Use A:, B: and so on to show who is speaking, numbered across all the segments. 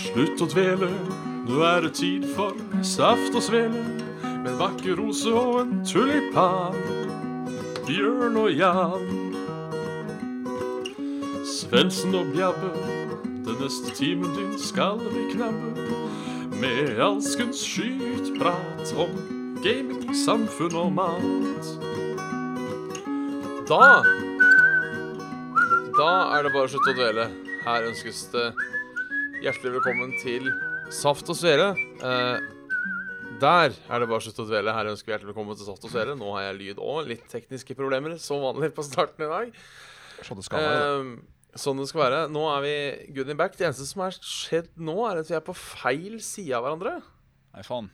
A: Slutt å dvele, nå er det tid for saft og svele. Med en vakker rose og en tulipan. Bjørn og Jan. Svendsen og Bjabbe, den neste timen din skal vi knabbe. Med alskens skytprat om gaming, samfunn og mat.
B: Da Da er det bare å slutte å dvele. Her ønskes det hjertelig velkommen til Saft og Svele. Eh, der er det bare å slutte å dvele. Her ønsker vi hjertelig velkommen til Saft og Svele. Nå har jeg lyd og litt tekniske problemer, som vanlig på starten i dag.
C: Sånn det skal være.
B: Eh, sånn det skal være. Nå er vi good in back. Det eneste som har skjedd nå, er at vi er på feil side av hverandre.
C: Nei, faen.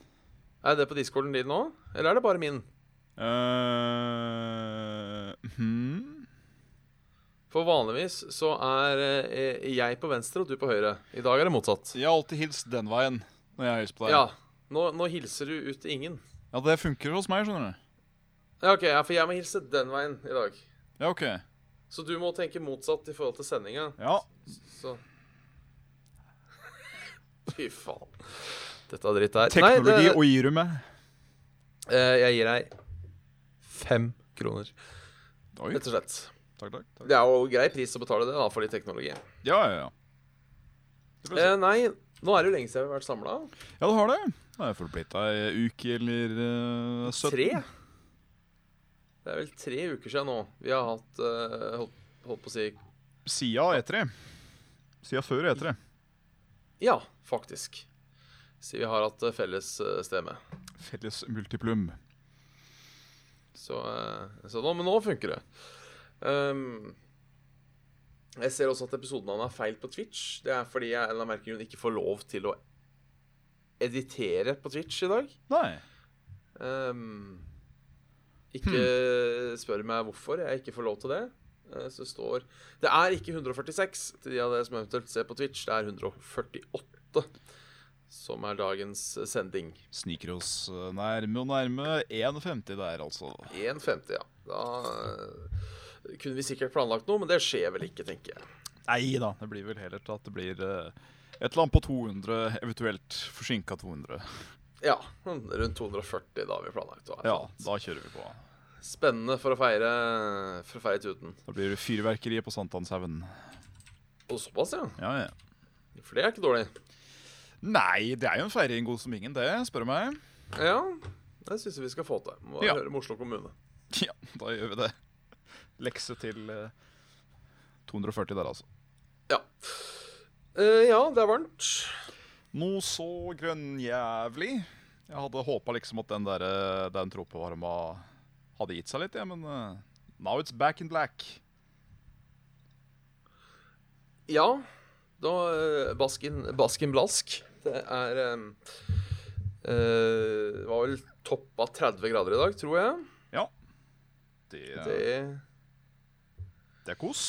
B: Er det på discorden din nå, eller er det bare min?
C: Eh, hmm.
B: For vanligvis så er eh, jeg på venstre og du på høyre. I dag er det motsatt.
C: Jeg har alltid hilst den veien når jeg har hilst på deg.
B: Ja. Nå, nå hilser du ut til ingen.
C: Ja, det funker hos meg, skjønner du.
B: Ja, ok, ja, For jeg må hilse den veien i dag.
C: Ja, OK.
B: Så du må tenke motsatt i forhold til sendinga.
C: Ja.
B: Så Fy faen. Dette er dritt her.
C: Teknologi
B: Nei, det,
C: og gir du meg.
B: eh, jeg gir deg fem kroner,
C: Oi.
B: rett og slett.
C: Takk, takk. takk.
B: Det er jo grei pris å betale det da, for litt teknologi.
C: Ja, ja, ja.
B: Eh, nei, nå er det jo lenge siden vi har vært samla.
C: Ja, du har det. Det er forplitta ei uke eller uh, 17.
B: Tre? Det er vel tre uker siden nå. Vi har hatt eh, holdt, holdt på å si
C: Sida E3. Sida E før E E3.
B: Ja, faktisk. Så vi har hatt eh, felles eh, stemme.
C: Felles multiplum.
B: Så, eh, så nå, men nå funker det. Ehm, jeg ser også at episodenavnet er feil på Twitch. Det er fordi jeg av en eller annen merkelig grunn ikke får lov til å editere på Twitch i dag.
C: Nei.
B: Ehm, ikke spør meg hvorfor jeg ikke får lov til det. Eh, Så det står Det er ikke 146 til de av dere som eventuelt ser på Twitch. Det er 148 som er dagens sending.
C: Sniker oss eh, nærme og nærme 1,50 der, altså.
B: 1,50, ja. Da eh, kunne vi sikkert planlagt noe, men det skjer vel ikke, tenker jeg.
C: Nei da. Det blir vel heller til at det blir eh, et eller annet på 200, eventuelt forsinka 200.
B: Ja, sånn rundt 240 da har vi planlagt. å være.
C: Ja, da kjører vi på.
B: Spennende for å feire, for å feire tuten.
C: Da blir det fyrverkeri på Sankthanshaugen.
B: Og såpass, ja.
C: Ja, ja.
B: For det er ikke dårlig.
C: Nei, det er jo en feiring god som ingen, det, spør du meg.
B: Ja, det syns jeg vi skal få til. Må
C: Ja.
B: høre med Oslo kommune.
C: Ja, da gjør vi det. Lekse til eh, 240 der, altså.
B: Ja. Eh, ja, det er varmt.
C: Noe så grønnjævlig. Jeg hadde håpa liksom at den, der, eh, den tropevarma hadde gitt seg litt, ja, men eh, now it's back in black.
B: Ja. Da eh, Baskin, baskin Blask. Det er eh, eh, var vel toppa 30 grader i dag, tror jeg.
C: Ja. Det, det.
B: Det
C: er kos.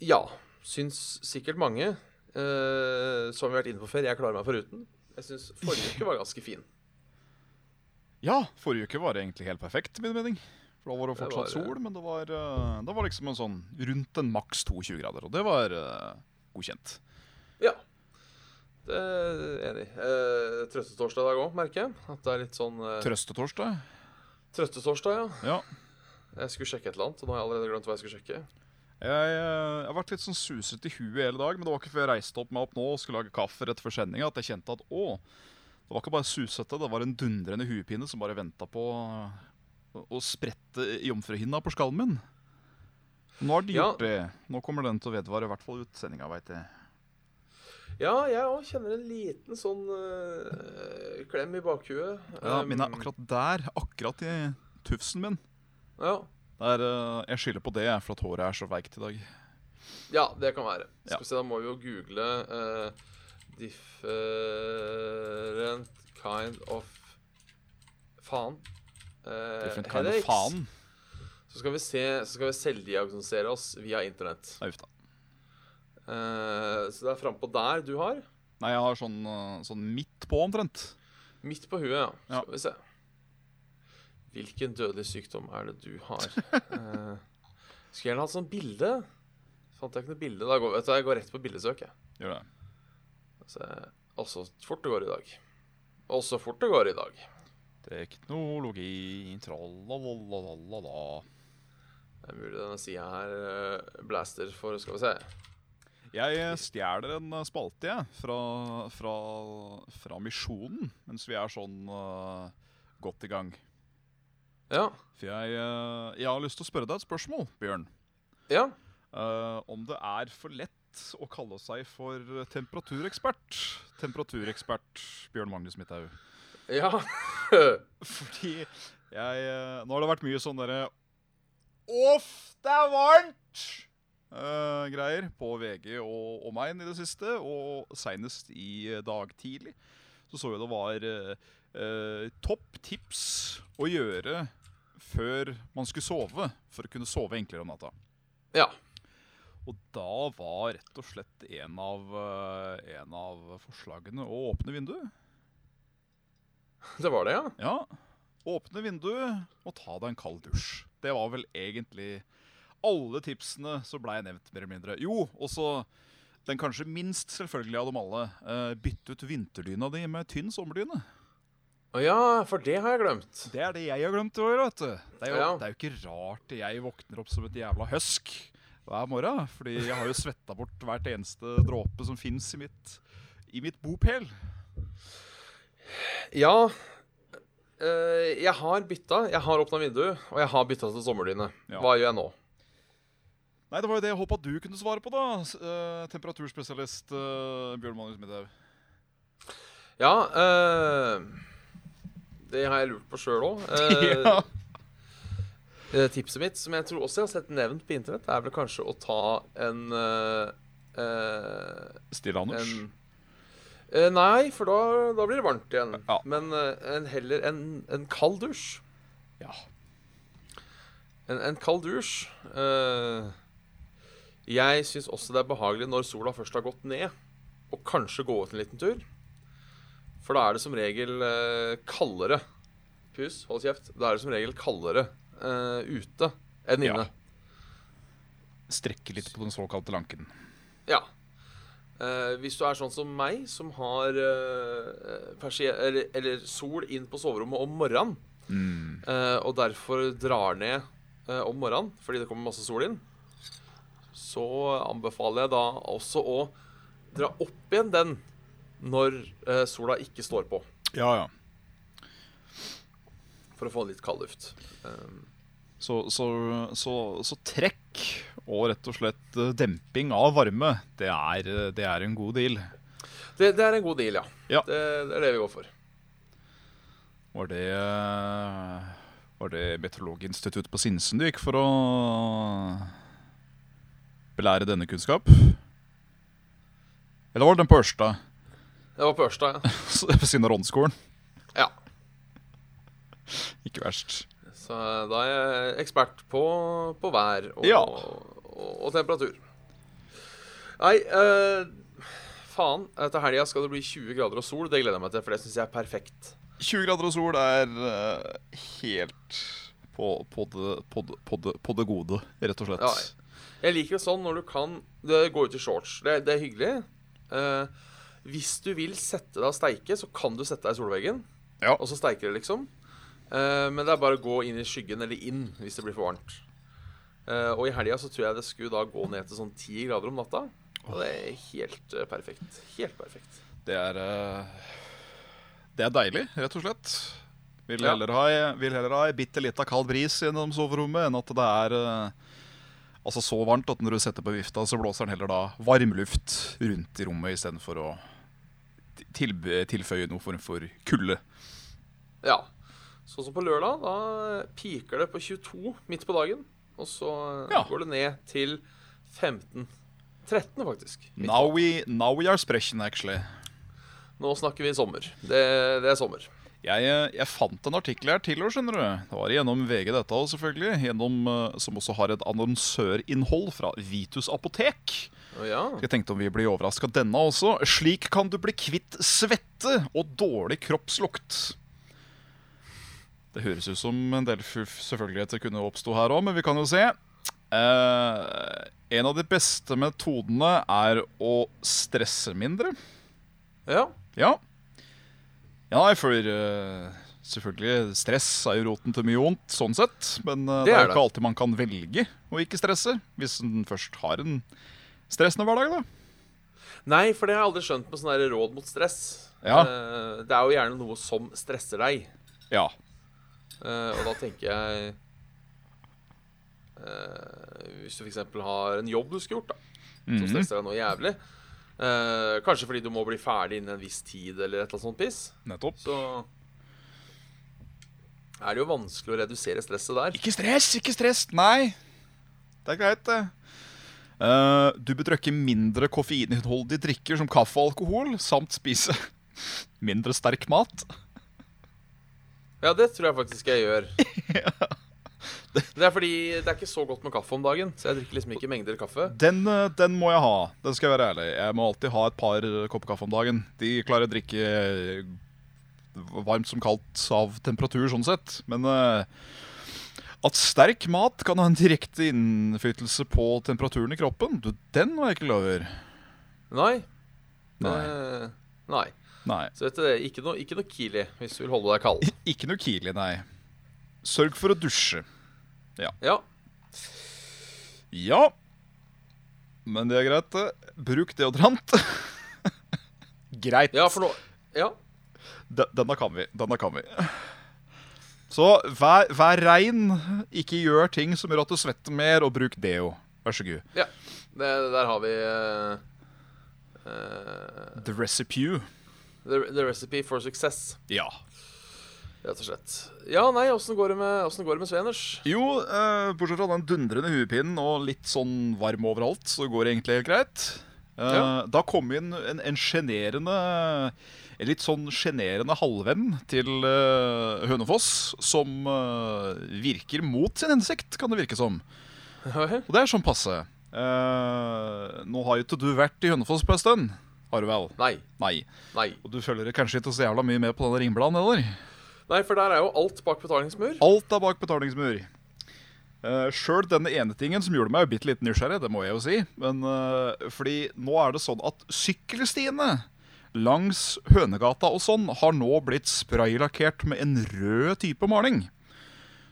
B: Ja. Syns sikkert mange. Eh, som vi har vært inne på før, jeg klarer meg foruten. Jeg syns forrige uke var ganske fin.
C: Ja, forrige uke var det egentlig helt perfekt, min mening. For da var det
B: Det
C: fortsatt
B: var, eh,
C: sol, men det var, eh, det var liksom en sånn rundt en maks 22 grader, og det var eh, godkjent.
B: Ja. Det er enig. Eh, trøstetorsdag i dag òg, merker jeg. At det er litt sånn eh,
C: Trøstetorsdag.
B: Trøstetorsdag, ja.
C: Ja.
B: Jeg skulle sjekke et eller annet, og nå har jeg allerede glemt hva jeg skulle sjekke.
C: Jeg, eh, jeg har vært litt sånn suset i huet hele dag, men det var ikke før jeg reiste opp meg opp nå og skulle lage kaffe rett før sendinga, at jeg kjente at å, det var ikke bare susete, det var en dundrende huepine som bare venta på å- å sprette jomfruhinna på skallen min. Nå har de
B: Ja.
C: gjort det. Nå kommer den til å vedvare i hvert fall ut sendinga, veit jeg.
B: Ja, jeg òg kjenner en liten sånn eh, klem i bakhuet.
C: Ja,
B: Um,
C: min er akkurat der. Akkurat i tufsen min.
B: ja.
C: Det er, eh, jeg skylder på det, jeg, for at håret er så veikt i dag.
B: ja, det kan være. Skal
C: Ja.
B: vi se, da må vi jo google eh, Different kind of faen. Eh,
C: Different kind of
B: headaches.
C: faen.
B: Så skal vi, se, så skal vi selvdiagnosere oss via internett.
C: Nei, uff da.
B: Eh, så det er frampå der du har.
C: Nei, jeg har sånn, eh, sånn midt på, omtrent.
B: Midt på huet, ja.
C: Ja.
B: Skal vi se. Hvilken dødelig sykdom er det du har? Eh, skulle gjerne hatt sånn bilde. Fant jeg ikke noe bilde. Da går, vet du, jeg går rett på bildesøk, jeg.
C: Gjør det.
B: Så, og så fort det går i dag. Og så fort det går i dag.
C: Teknologi tralalalalala.
B: Det er mulig denne sida her eh, blaster for Skal vi se.
C: Jeg stjeler en eh, spalte jeg, fra, fra, fra Misjonen mens vi er sånn eh, godt i gang.
B: Ja.
C: For jeg, eh, jeg har lyst til å spørre deg et spørsmål, Bjørn.
B: ja.
C: Eh, om det er for lett å kalle seg for temperaturekspert. Temperaturekspert Bjørn Magnus Midthaug.
B: Ja.
C: Fordi jeg eh, Nå har det vært mye sånn derre Uff, det er varmt! eh, greier på VG og, og meg i det siste, og seinest i eh, dag tidlig så så jeg det var eh, eh, topp tips å gjøre før man skulle sove, for å kunne sove enklere om natta.
B: ja.
C: Og da var rett og slett en av, eh, en av forslagene å åpne vinduet.
B: Det var det, ja.
C: Ja. Åpne vinduet og ta deg en kald dusj. Det var vel egentlig alle tipsene som blei nevnt, mer eller mindre. Jo, og så den kanskje minst selvfølgelig av dem alle. eh, bytte ut vinterdyna di med tynn sommerdyne.
B: Å ja, for det har jeg glemt.
C: Det er det jeg har glemt å gjøre, vet du. Det er jo,
B: Ja.
C: det er jo ikke rart jeg våkner opp som et jævla høsk hver morgen. Fordi jeg har jo svetta bort hvert eneste dråpe som fins i mitt, i mitt bopel.
B: Ja. eh, jeg har bytta. Jeg har åpna vinduet, og jeg har bytta til sommerdyne.
C: Ja.
B: Hva gjør jeg nå?
C: Nei, det var jo det jeg håpa du kunne svare på, da. s- eh, temperaturspesialist eh, Bjørn Magnus Midthaug.
B: Ja eh, Det har jeg lurt på sjøl òg. Eh,
C: Ja.
B: Tipset mitt, som jeg tror også jeg har sett nevnt på internett, er vel kanskje å ta en eh, eh,
C: Stille Anders.
B: en Eh, Nei, for da, da blir det varmt igjen.
C: Ja.
B: Men eh, en, heller en, en kald dusj.
C: Ja.
B: En, en kald dusj. eh, jeg syns også det er behagelig når sola først har gått ned, og kanskje gå ut en liten tur. For da er det som regel eh, kaldere Pus, hold kjeft. Da er det som regel kaldere eh, ute enn
C: Ja.
B: inne.
C: Strekke litt på den såkalte lanken.
B: Ja. Eh, hvis du er sånn som meg, som har eh, persie- eller, eller sol inn på soverommet om morgenen, eh, og derfor drar ned eh, om morgenen fordi det kommer masse sol inn, så anbefaler jeg da også å dra opp igjen den når eh, sola ikke står på,
C: Ja, ja.
B: for å få litt kald luft. Eh,
C: Så, så, så, så trekk og rett og slett eh, demping av varme, det er, eh, det er en god deal.
B: det, det er en god deal, ja.
C: Ja.
B: Det, det er det vi går for.
C: Var det eh, Var det Meteorologinstituttet på Sinsen du gikk for å belære denne kunnskap? Eller var det den på Ørsta?
B: Det var på Ørsta, ja.
C: Ved siden av Råndskolen?
B: ja.
C: Ikke verst.
B: Så da er jeg ekspert på, på vær og,
C: Ja.
B: og, og temperatur. Nei, eh, faen. eh, Til helga skal det bli 20 grader og sol. Det gleder jeg meg til, for det syns jeg er perfekt.
C: 20 grader og sol er eh, helt på, på, det, på, det, på, det, på det gode, rett og slett.
B: Ja, Jeg liker det sånn når du kan det- gå ut i shorts. Det, det er hyggelig. Eh, hvis du vil sette deg og steike, så kan du sette deg i solveggen.
C: Ja.
B: Og så steiker det, liksom. Eh, men det er bare å gå inn i skyggen eller inn hvis det blir for varmt. Eh, og i helga så tror jeg det skulle da gå ned til sånn 10 grader om natta. Og det er helt eh, perfekt. Helt perfekt.
C: Det er eh, Det er deilig, rett og slett. Vil
B: Ja.
C: heller ha, vil heller ha ei bitte lita kald bris gjennom soverommet enn at det er eh, altså så varmt at når du setter på vifta, så blåser den heller da varm luft rundt i rommet istedenfor å tilbe, tilføye noen form for kulde.
B: Ja. Sånn som på lørdag, da piker det på 22 midt på dagen. Og så eh,
C: Ja.
B: går det ned til 15. 13, faktisk. Midt på
C: Now we, now we are sprechen, actually.
B: Nå snakker vi sommer. Det, det er sommer.
C: Jeg, eh, jeg fant en artikkel her til, skjønner du. Det var gjennom VG dette også, selvfølgelig. Gjennom, eh, som også har et annonsørinnhold fra Vitus apotek.
B: Å ja.
C: Jeg tenkte om vi blir overraska denne også. Slik kan du bli kvitt svette og dårlig kroppslukt. Det høres ut som en del fu- selvfølgeligheter kunne oppstå her òg, men vi kan jo se. Eh, en av de beste metodene er å stresse mindre.
B: Ja.
C: Ja. Ja, nei, for eh, selvfølgelig Stress er jo roten til mye vondt, sånn sett. Men eh,
B: Det
C: det, er
B: er
C: jo ikke alltid man kan velge å ikke stresse. Hvis en først har en stressende hverdag, da.
B: Nei, for det har jeg aldri skjønt med sånne her råd mot stress.
C: Ja.
B: Eh, det er jo gjerne noe som stresser deg.
C: Ja.
B: Eh, og da tenker jeg eh, Hvis du f.eks. har en jobb du skulle gjort, da, som
C: Mhm.
B: stresser deg noe jævlig eh, Kanskje fordi du må bli ferdig innen en viss tid, eller et eller annet sånt piss.
C: Nettopp.
B: Så er det jo vanskelig å redusere stresset der.
C: Ikke stress, ikke stress! Nei. Det er greit, det. Eh, du bør drikke mindre koffeininnholdige drikker som kaffe og alkohol, samt spise mindre sterk mat.
B: Ja, det tror jeg faktisk jeg gjør. Det er fordi det er ikke så godt med kaffe om dagen, så jeg drikker liksom ikke mengder kaffe.
C: Den, eh, den må jeg ha. Den skal jeg være ærlig. Jeg må alltid ha et par eh, kopper kaffe om dagen. De klarer å drikke eh, varmt som kaldt av temperatur, sånn sett. Men eh, at sterk mat kan ha en direkte innflytelse på temperaturen i kroppen, du, den var jeg ikke klar over.
B: Nei.
C: Nei.
B: Eh, nei.
C: Nei.
B: Så vet du det, ikke noe, ikke noe Kili hvis du vil holde deg kald.
C: Ikke noe Kili, nei. Sørg for å dusje.
B: Ja.
C: Ja. Men det er greit, det. Bruk deodorant. greit.
B: ja, for nå Ja.
C: De- Denne kan vi. Denne kan vi. Så vær, vær rein, ikke gjør ting som gjør at du svetter mer, og bruk deo. Vær så god.
B: Det, der har vi eh, eh,
C: The recipe.
B: the, the recipe for success,
C: Ja.
B: rett og slett. Ja, nei, åssen går, det med- hvordan går det med Sveners?
C: Jo, eh, bortsett fra den dundrende huepinen og litt sånn varm overalt, så går det egentlig helt greit. Eh,
B: Ja.
C: Da kom inn en en sjenerende En litt sånn sjenerende halvvenn til eh, Hønefoss, som eh, virker mot sin hensikt, kan det virke som. Og det er sånn passe. Eh, nå har jo ikke du vært i Hønefoss på en stund, har du vel?
B: nei.
C: Nei.
B: Nei.
C: Og du følger kanskje ikke så jævla mye med på denne ringbladen heller?
B: Nei, for der er jo alt bak betalingsmur.
C: Alt er bak betalingsmur. Uh, Sjøl denne ene tingen som gjorde meg bitte litt nysgjerrig, det må jeg jo si. Men eh, fordi nå er det sånn at sykkelstiene langs Hønegata og sånn har nå blitt spraylakkert med en rød type maling.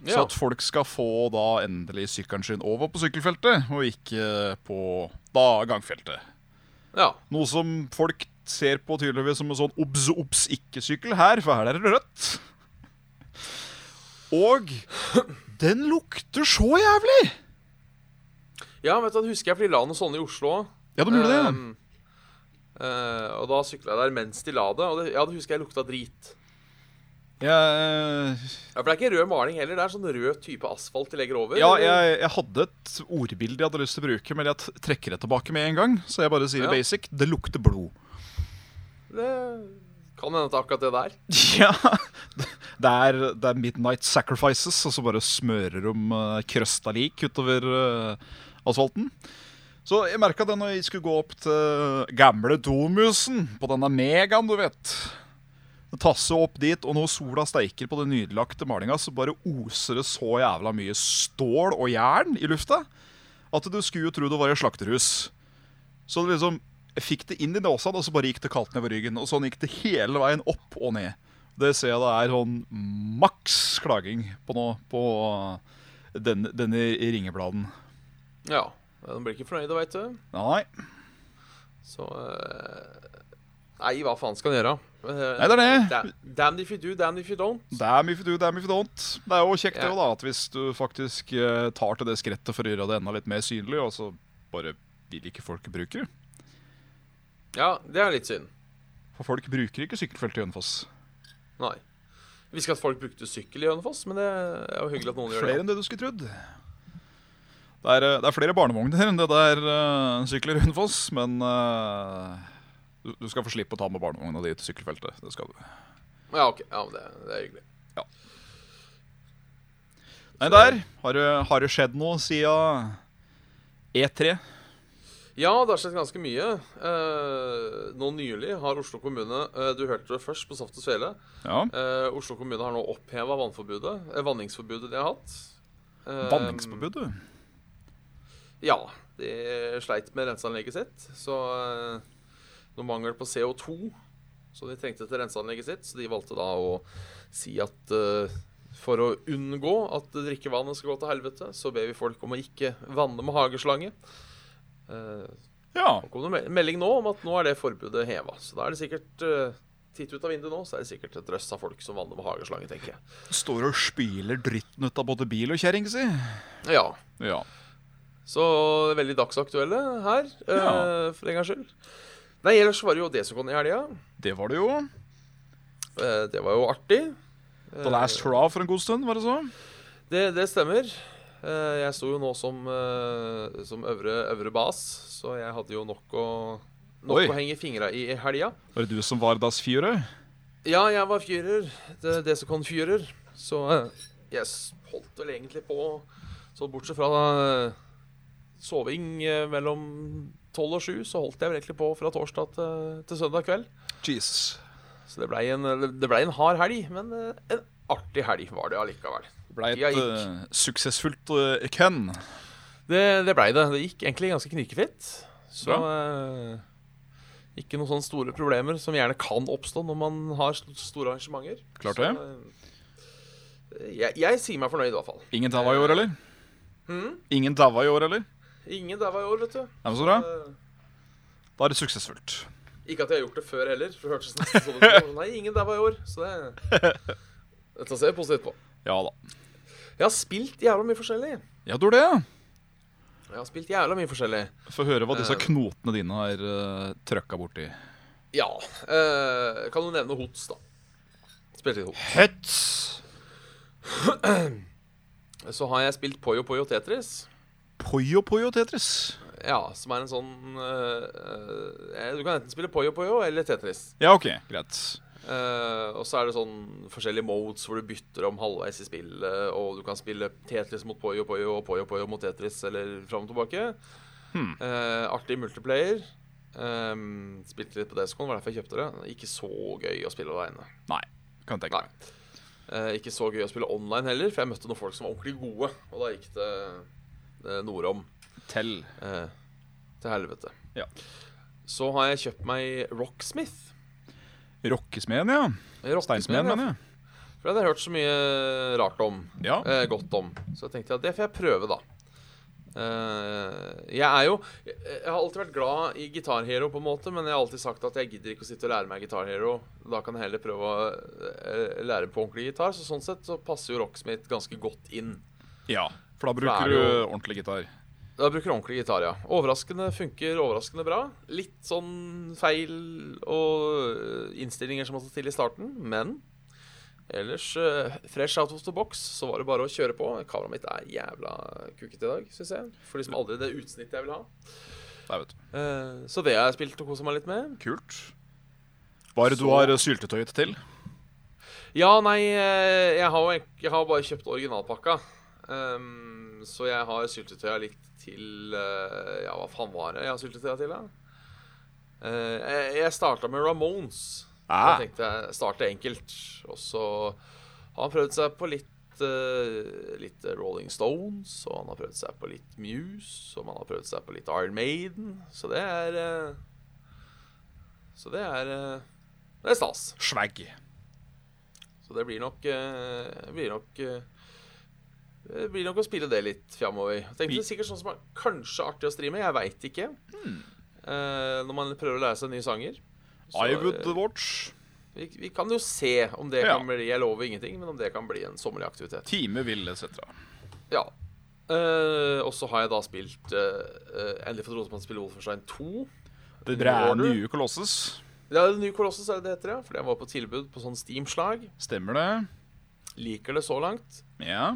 C: Så
B: Ja.
C: at folk skal få da endelig sykkelen sin over på sykkelfeltet, og ikke på da gangfeltet.
B: ja.
C: Noe som folk ser på tydeligvis som en sånn obs, obs, ikke-sykkel her, for her er det rødt. Og den lukter så jævlig!
B: Ja, vet du, det husker jeg, for de la noe sånne i Oslo òg.
C: Ja, de gjorde det.
B: Ehm,
C: ja.
B: eh, og da sykla jeg der mens de la det, og det, ja, det husker jeg lukta drit.
C: Jeg, eh,
B: Ja, For det er ikke rød maling heller, det er sånn rød type asfalt de legger over.
C: ja,
B: eller?
C: jeg, jeg hadde et ordbilde jeg hadde lyst til å bruke, men jeg t- trekker det tilbake med en gang. Så jeg bare sier
B: Ja.
C: basic. Det lukter blod.
B: Det kan hende at det er akkurat det der.
C: Ja, det er, det er Midnight Sacrifices, og så bare smører de uh, krøsta lik utover eh, asfalten. Så jeg merka det når jeg skulle gå opp til gamle Domusen, på denne megaen, du vet. Tasse opp dit, og når sola steiker på den nydelagte malinga, så bare oser det så jævla mye stål og jern i lufta at du skulle jo tro det var i slakterhus. Så det liksom jeg fikk det inn i nåsene, og så bare gikk det kaldt nedover ryggen. Og sånn gikk det hele veien opp og ned. Det ser jeg det er sånn maks klaging på nå, på den, denne ringebladen.
B: Ja, De blir ikke fornøyde, veit du.
C: Nei,
B: Så eh, Nei, hva faen skal en gjøre? Eh,
C: Nei, det er det.
B: da- Damned if you do, damned if you don't.
C: damn if you do, damn if you don't. Det er jo kjekt det
B: Ja.
C: jo da, at hvis du faktisk eh, tar til det skrittet for å gjøre det enda litt mer synlig, og så bare vil ikke folk bruke det.
B: Ja, det er litt synd.
C: For folk bruker ikke sykkelfelt i Hønefoss.
B: Nei. Jeg visste ikke at folk brukte sykkel i Hønefoss, men det er jo hyggelig at noen gjør
C: Flere
B: det.
C: enn det du skulle trodd. Det er, eh, det er flere barnevogner enn det der uh, sykler i Hønefoss, men eh, du, du skal få slippe å ta med barnevogna di til sykkelfeltet. Det skal du.
B: Ja, ok. Ja, men det, det er hyggelig.
C: Nei, der har det, har det skjedd noe siden E E3.
B: Ja, det har skjedd ganske mye. Eh, nå nylig har Oslo kommune eh, Du hørte det først på Saft og Svele.
C: Ja.
B: Eh, Oslo kommune har nå oppheva vannforbudet. eh, vanningsforbudet de har hatt. Eh,
C: Vanningsforbud, du.
B: Ja. De sleit med renseanlegget sitt, så eh, noe mangel på CO2 Så de trengte til renseanlegget sitt, så de valgte da å si at eh, for å unngå at drikkevannet skal gå til helvete, så ber vi folk om å ikke vanne med hageslange. Eh,
C: Ja.
B: det kom det en melding nå om at nå er det forbudet heva. Så da er det sikkert eh, Titt ut av vinduet nå, så er det sikkert et drøss av folk som vanner med hageslange, tenker jeg.
C: Står og spyler dritten ut av både bil og kjerring si.
B: Ja.
C: Ja.
B: Så det er veldig dagsaktuelle her, eh,
C: Ja.
B: for en gangs skyld. Nei, ellers var det jo Desicon i helga.
C: Det var det jo.
B: Eh, det var jo artig.
C: The
B: Eh.
C: Last Hurrah for en god stund, var det så?
B: Det, det stemmer. Eh, Jeg sto jo nå som, eh, som øvre, øvre bas, så jeg hadde jo nok å,
C: Oi.
B: nok å henge fingra i i helga.
C: Var det du som var das fyret?
B: Ja, jeg var fyrer. Det, det som kan fyrer. Så eh, jeg s- holdt vel egentlig på Så bortsett fra eh, soving eh, mellom tolv og sju, så holdt jeg vel egentlig på fra torsdag til, til søndag kveld.
C: Jesus.
B: Så det blei en, det ble en hard helg, men eh, en artig helg var det allikevel.
C: Det ble et
B: Tida gikk.
C: eh, suksessfullt uh, ken.
B: Det, det blei det. Det gikk egentlig ganske knirkefritt. Så eh, ikke noen sånne store problemer som gjerne kan oppstå når man har st- store arrangementer.
C: Klart
B: Så, eh, jeg, jeg sier meg fornøyd, i hvert fall.
C: Ingen daua i år, eller?
B: Mhm.
C: Ingen daua i år, eller?
B: Ingen daua i år, vet du.
C: Nei, men så bra.
B: Eh,
C: Da er det suksessfullt.
B: Ikke at jeg har gjort det før heller. For det hørtes nesten sånn ut. Nei, ingen daua i år. Så det Dette ser jeg positivt på.
C: Ja da.
B: Jeg har spilt jævla mye forskjellig.
C: Ja, du gjorde det, ja.
B: Jeg har spilt jævla mye forskjellig.
C: Få høre hva disse
B: Eh.
C: knotene dine har uh, trøkka borti.
B: Ja. eh, kan du nevne Hots, da? Spilte litt Hots.
C: Hets!
B: Så har jeg spilt Poyo Poyo Tetris.
C: Poyo Poyo Tetris.
B: Ja, som er en sånn øh, øh, Du kan enten spille Poyo Poyo eller Tetris.
C: Ja, OK. Greit.
B: Eh, og så er det sånn forskjellige modes hvor du bytter om halvveis i spillet, og du kan spille Tetris mot Poyo Poyo og Poyo Poyo mot Tetris, eller fram og tilbake.
C: Hmm.
B: Eh, artig multiplayer. Um, spilte litt på Descon, var derfor jeg kjøpte det. Ikke så gøy å spille alene.
C: Nei. Kan jeg tenke meg.
B: Eh, ikke så gøy å spille online heller, for jeg møtte noen folk som var ordentlig gode, og da gikk det, det eh, nordom.
C: Tell.
B: Eh, til helvete.
C: Ja.
B: Så har jeg kjøpt meg Rocksmith.
C: Rockesmeden, ja.
B: Rocksmith,
C: Steinsmeden,
B: ja.
C: mener jeg.
B: For det hadde jeg hørt så mye rart om.
C: Ja.
B: Eh, godt om. Så jeg tenkte at det får jeg prøve, da. Eh, jeg er jo Jeg jeg har alltid vært glad i Guitar Hero, på en måte, men jeg har alltid sagt at jeg gidder ikke å sitte og lære meg Guitar Hero. Da kan jeg heller prøve å eh, lære på ordentlig gitar. Så sånn sett så passer jo Rocksmith ganske godt inn.
C: ja. For
B: Da er
C: da bruker
B: det
C: du
B: jo-
C: ordentlig gitar.
B: Da bruker du ordentlig gitar, ja. Overraskende funker overraskende bra. Litt sånn feil og øh, innstillinger som måtte til i starten, men ellers øh, fresh out of the box, så var det bare å kjøre på. Kameraet mitt er jævla kukete i dag, syns jeg. For de som aldri det utsnittet jeg vil ha.
C: Der, vet du.
B: Eh, så det har jeg spilt og kosa meg litt med.
C: Kult. Hva er det du
B: Så-
C: har syltetøyet til?
B: Ja, nei, eh, jeg har, jo egentlig- jeg har bare kjøpt originalpakka. Ehm, så jeg har syltetøya litt til eh, Ja, hva faen var det jeg har syltetøya til, da? Eh, jeg jeg starta med Ramones.
C: Ah.
B: Jeg tenkte jeg starte enkelt. Og så har han prøvd seg på litt, eh, litt Rolling Stones, og han har prøvd seg på litt Muse, og man har prøvd seg på litt Iron Maiden. Så det er eh, Så det er eh, Det er stas.
C: Swag.
B: Så det blir nok eh, blir nok eh, det blir nok å spille det litt framover. Jeg Tenkte det er sikkert sånn som er kanskje artig å streame. Jeg veit ikke. Eh, når man prøver å lære seg nye sanger. Så,
C: I would
B: eh,
C: watch.
B: vi, vi kan jo se om det
C: Ja.
B: kan bli Jeg lover ingenting, men om det kan bli en sommerlig aktivitet.
C: Time vil, etc.
B: Ja. Eh, og så har jeg da spilt eh, eh, Endelig fått Rosemann spille Wolfenstein 2.
C: Det
B: New
C: er
B: Order.
C: nye kolosses.
B: Det er Ny Kolossus, er det det heter, ja. For jeg var på tilbud på sånn Steam-slag.
C: Stemmer det?
B: Liker det så langt.
C: Ja.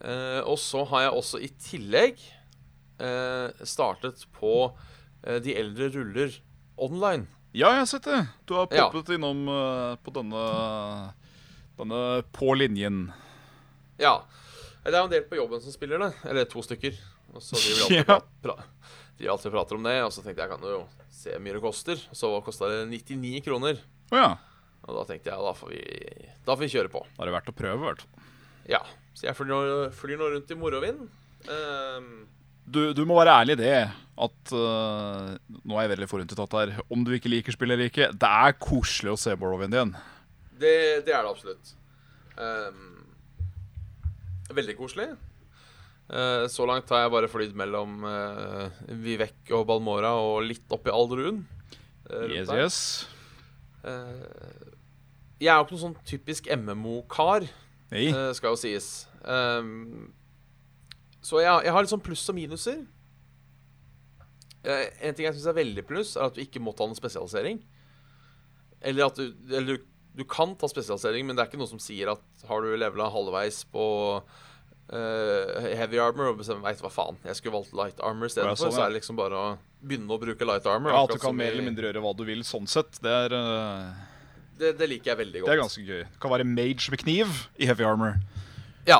B: Eh, og så har jeg også i tillegg eh, startet på eh, De eldre ruller online.
C: Ja, jeg har sett det. Du har
B: Ja.
C: poppet innom eh, på denne Denne på linjen.
B: Ja. Det er jo en del på jobben som spiller det. Eller to stykker. Og så de vil alltid,
C: Ja.
B: pra pra de vil alltid prate om det. Og så tenkte jeg jeg kan jo se hvor mye det koster. Og så kosta det 99 kroner.
C: Å ja.
B: Og da tenkte jeg da får vi, da får vi kjøre på.
C: Da er det verdt å prøve, i hvert fall.
B: Ja. Så jeg flyr nå, flyr nå rundt i morovind. Um,
C: du, du må være ærlig i det. At eh, Nå er jeg veldig forutinntatt her. Om du ikke liker spillet eller ikke, det er koselig å se Morrowind igjen.
B: Det, det er det absolutt. Ehm, veldig koselig. Eh, så langt har jeg bare flydd mellom eh, Vivek og Balmora og litt opp i Alderun. eh, rundt
C: Yes,
B: der.
C: yes.
B: Eh, jeg er jo ikke noen sånn typisk MMO-kar,
C: Nei.
B: eh, skal jo sies. Ehm, så jeg, jeg har litt sånn pluss og minuser. Eh, en ting jeg syns er veldig pluss, er at du ikke må ta noen spesialisering. Eller at du Eller du, du kan ta spesialisering, men det er ikke noe som sier at har du levela halvveis på eh, heavy armor og bestemmer Veit hva faen, jeg skulle valgt light armor
C: Ja,
B: istedenfor,
C: sånn,
B: så
C: ja.
B: er det liksom bare å begynne å bruke light armor.
C: Ja, at
B: akkurat
C: du kan
B: som
C: mer
B: i-
C: eller mindre gjøre hva du vil sånn sett, det er, eh,
B: det, det liker jeg veldig godt.
C: det er ganske gøy. Du kan være mage med kniv i heavy armor.
B: Ja,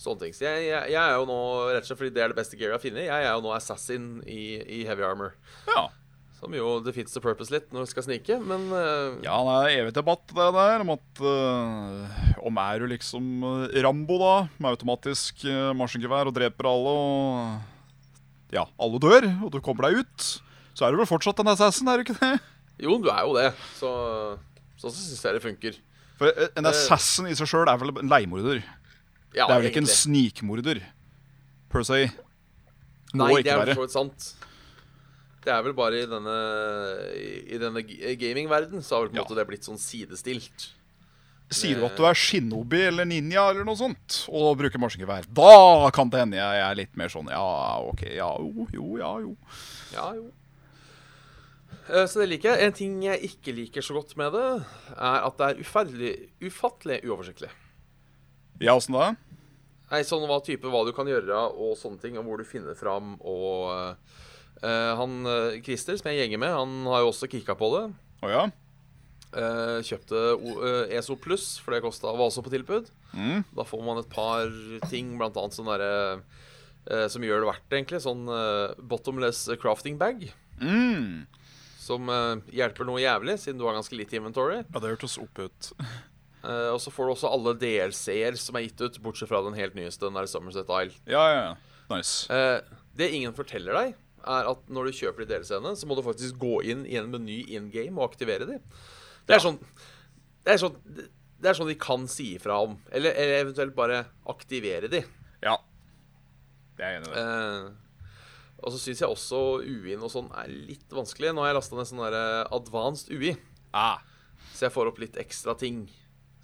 B: sånne ting. Så jeg, jeg, jeg er jo nå, rett og slett fordi det er det beste gearet jeg har funnet, jeg er jo nå assassin i, i heavy armor.
C: Ja.
B: Som jo defeats the purpose litt når du skal snike, men eh,
C: Ja, det er evig debatt det der om at eh, Om er du liksom eh, Rambo, da, med automatisk uh, maskingevær og dreper alle, og Ja, alle dør, og du kommer deg ut, så er du vel fortsatt en assassin, er du ikke det?
B: jo, du er jo det. Så sånn så syns jeg det funker.
C: For eh, en assassin i seg sjøl er vel en leiemorder.
B: Ja,
C: det er vel ikke en
B: egentlig.
C: snikmorder per se. Må
B: Nei, det
C: ikke
B: er vel
C: være.
B: for så vidt sant. Det er vel bare i denne, i denne g- gamingverden så har vel på en
C: Ja.
B: måte det blitt sånn sidestilt.
C: Sier
B: eh,
C: du at du er shinobi eller ninja eller noe sånt, og bruker maskingevær, da kan det hende jeg er litt mer sånn ja, OK, ja, jo, jo, ja, jo.
B: Ja, jo. Eh, Så det liker jeg. En ting jeg ikke liker så godt med det, er at det er ufattelig, ufattelig uoversiktlig.
C: Ja, åssen da?
B: Nei, sånn hva type, hva du kan gjøre og sånne ting, og hvor du finner fram og eh, Han eh, Christer, som jeg gjenger med, han har jo også kikka på det.
C: Å ja?
B: Eh, kjøpte O- eh, ESO pluss, for det kosta, var også på tilbud.
C: Mm.
B: Da får man et par ting, blant annet sånn derre eh, Som gjør det verdt det, egentlig. Sånn eh, bottomless crafting bag.
C: Mm.
B: Som eh, hjelper noe jævlig, siden du har ganske lite inventory.
C: Ja, det hørtes opp ut.
B: Eh, og så får du også alle DLC-er som er gitt ut, bortsett fra den helt nyeste, den der Somerset Isle.
C: Ja, ja, ja. Nice.
B: Eh, det ingen forteller deg, er at når du kjøper de DLC-ene, så må du faktisk gå inn i en meny in game og aktivere de. Det er sånn Det er sånn, det er sånn de kan si ifra om. Eller, eller eventuelt bare aktivere de.
C: Ja. Det er jeg enig i. det.
B: Eh, og så syns jeg også UI-en og sånn er litt vanskelig. Nå har jeg lasta ned sånn der eh, advanced UI,
C: Ah.
B: så jeg får opp litt ekstra ting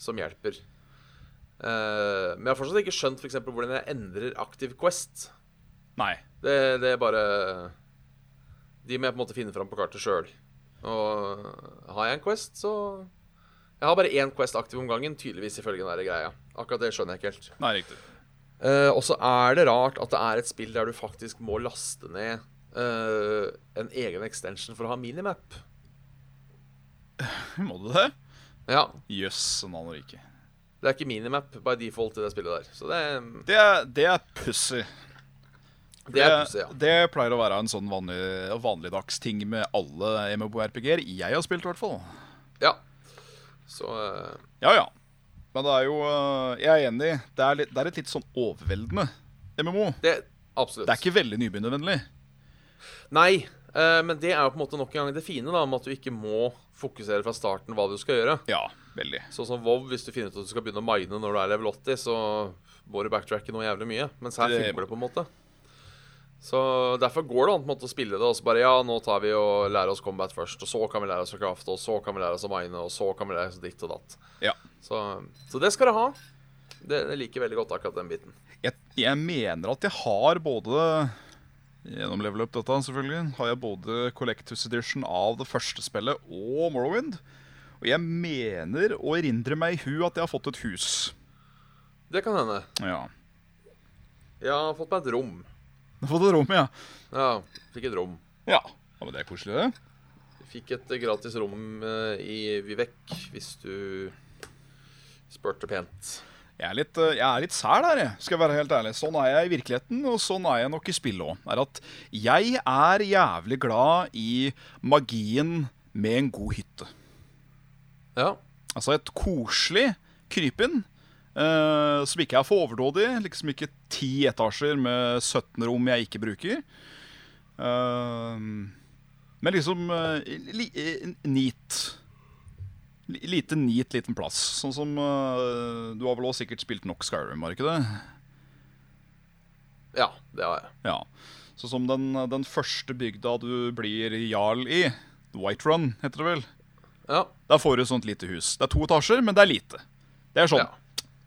B: som hjelper. Eh, men jeg har fortsatt ikke skjønt for eksempel hvordan jeg endrer Active Quest.
C: Nei.
B: Det, det er bare De må jeg på en måte finne fram på kartet sjøl. Og har jeg en Quest, så Jeg har bare én Quest aktiv om gangen, tydeligvis ifølge den der greia. Akkurat det skjønner jeg ikke helt.
C: Nei, riktig.
B: Eh, og så er det rart at det er et spill der du faktisk må laste ned eh, en egen extension for å ha minimap.
C: Må du det?
B: Ja,
C: Jøss, en annen rike.
B: det er ikke minimap by default i det spillet der. Så det,
C: Det er, det er pussig.
B: det er pussig, ja.
C: Det pleier å være en sånn vanlig, vanligdagsting med alle MMORPG-er jeg har spilt, i hvert fall.
B: ja. Så eh,
C: Ja, ja. Men det er jo eh, Jeg er enig. Det er, litt, det er et litt sånn overveldende MMO.
B: det Absolutt.
C: Det er ikke veldig nybegynnervennlig.
B: Nei, eh, men det er jo på en måte nok en gang det fine da, med at du ikke må fokusere fra starten hva du skal gjøre.
C: Ja, veldig.
B: Sånn som WoW, hvis du finner ut at du skal begynne å mine når du er level 80, så må du backtracke noe jævlig mye. Mens her
C: Det-
B: funker det på en måte. Så derfor går det an på en måte å spille det, og så bare ja, nå tar vi og lærer oss combat først, og så kan vi lære oss å crafte, og så kan vi lære oss å mine, og så kan vi lære oss ditt og datt.
C: Ja.
B: Så, så det skal du ha. Det, det liker jeg veldig godt akkurat den biten.
C: jeg, jeg mener at jeg har både Gjennom level up dette, selvfølgelig. Har jeg både Collectors Edition av det første spillet og Morrowind. Og jeg mener å erindre meg i hu at jeg har fått et hus.
B: Det kan hende.
C: Ja.
B: Jeg har fått meg et rom.
C: Jeg har Fått et rom, ja.
B: Ja, fikk et rom.
C: Ja, ja men Det er koselig, det.
B: Fikk et gratis rom eh, i Vivek hvis du spurte pent.
C: Jeg er litt, eh, jeg er litt sær der, jeg. skal jeg være helt ærlig. Sånn er jeg i virkeligheten, og sånn er jeg nok i spillet òg. Er at jeg er jævlig glad i magien med en god hytte.
B: Ja.
C: Altså et koselig krypinn. eh, som ikke er for overdådig. Liksom ikke ti etasjer med 17 rom jeg ikke bruker. Eh, men liksom eh, li, eh, neat. Li- Lite neat, liten plass. Sånn som eh, Du har vel også sikkert spilt nok Skyrim, har du ikke det?
B: Ja, det har jeg.
C: Ja. Så som den, den første bygda du blir jarl i, Whiterun heter det vel,
B: Ja,
C: der får du et sånt lite hus. Det er to etasjer, men det er lite. Det er sånn
B: Ja.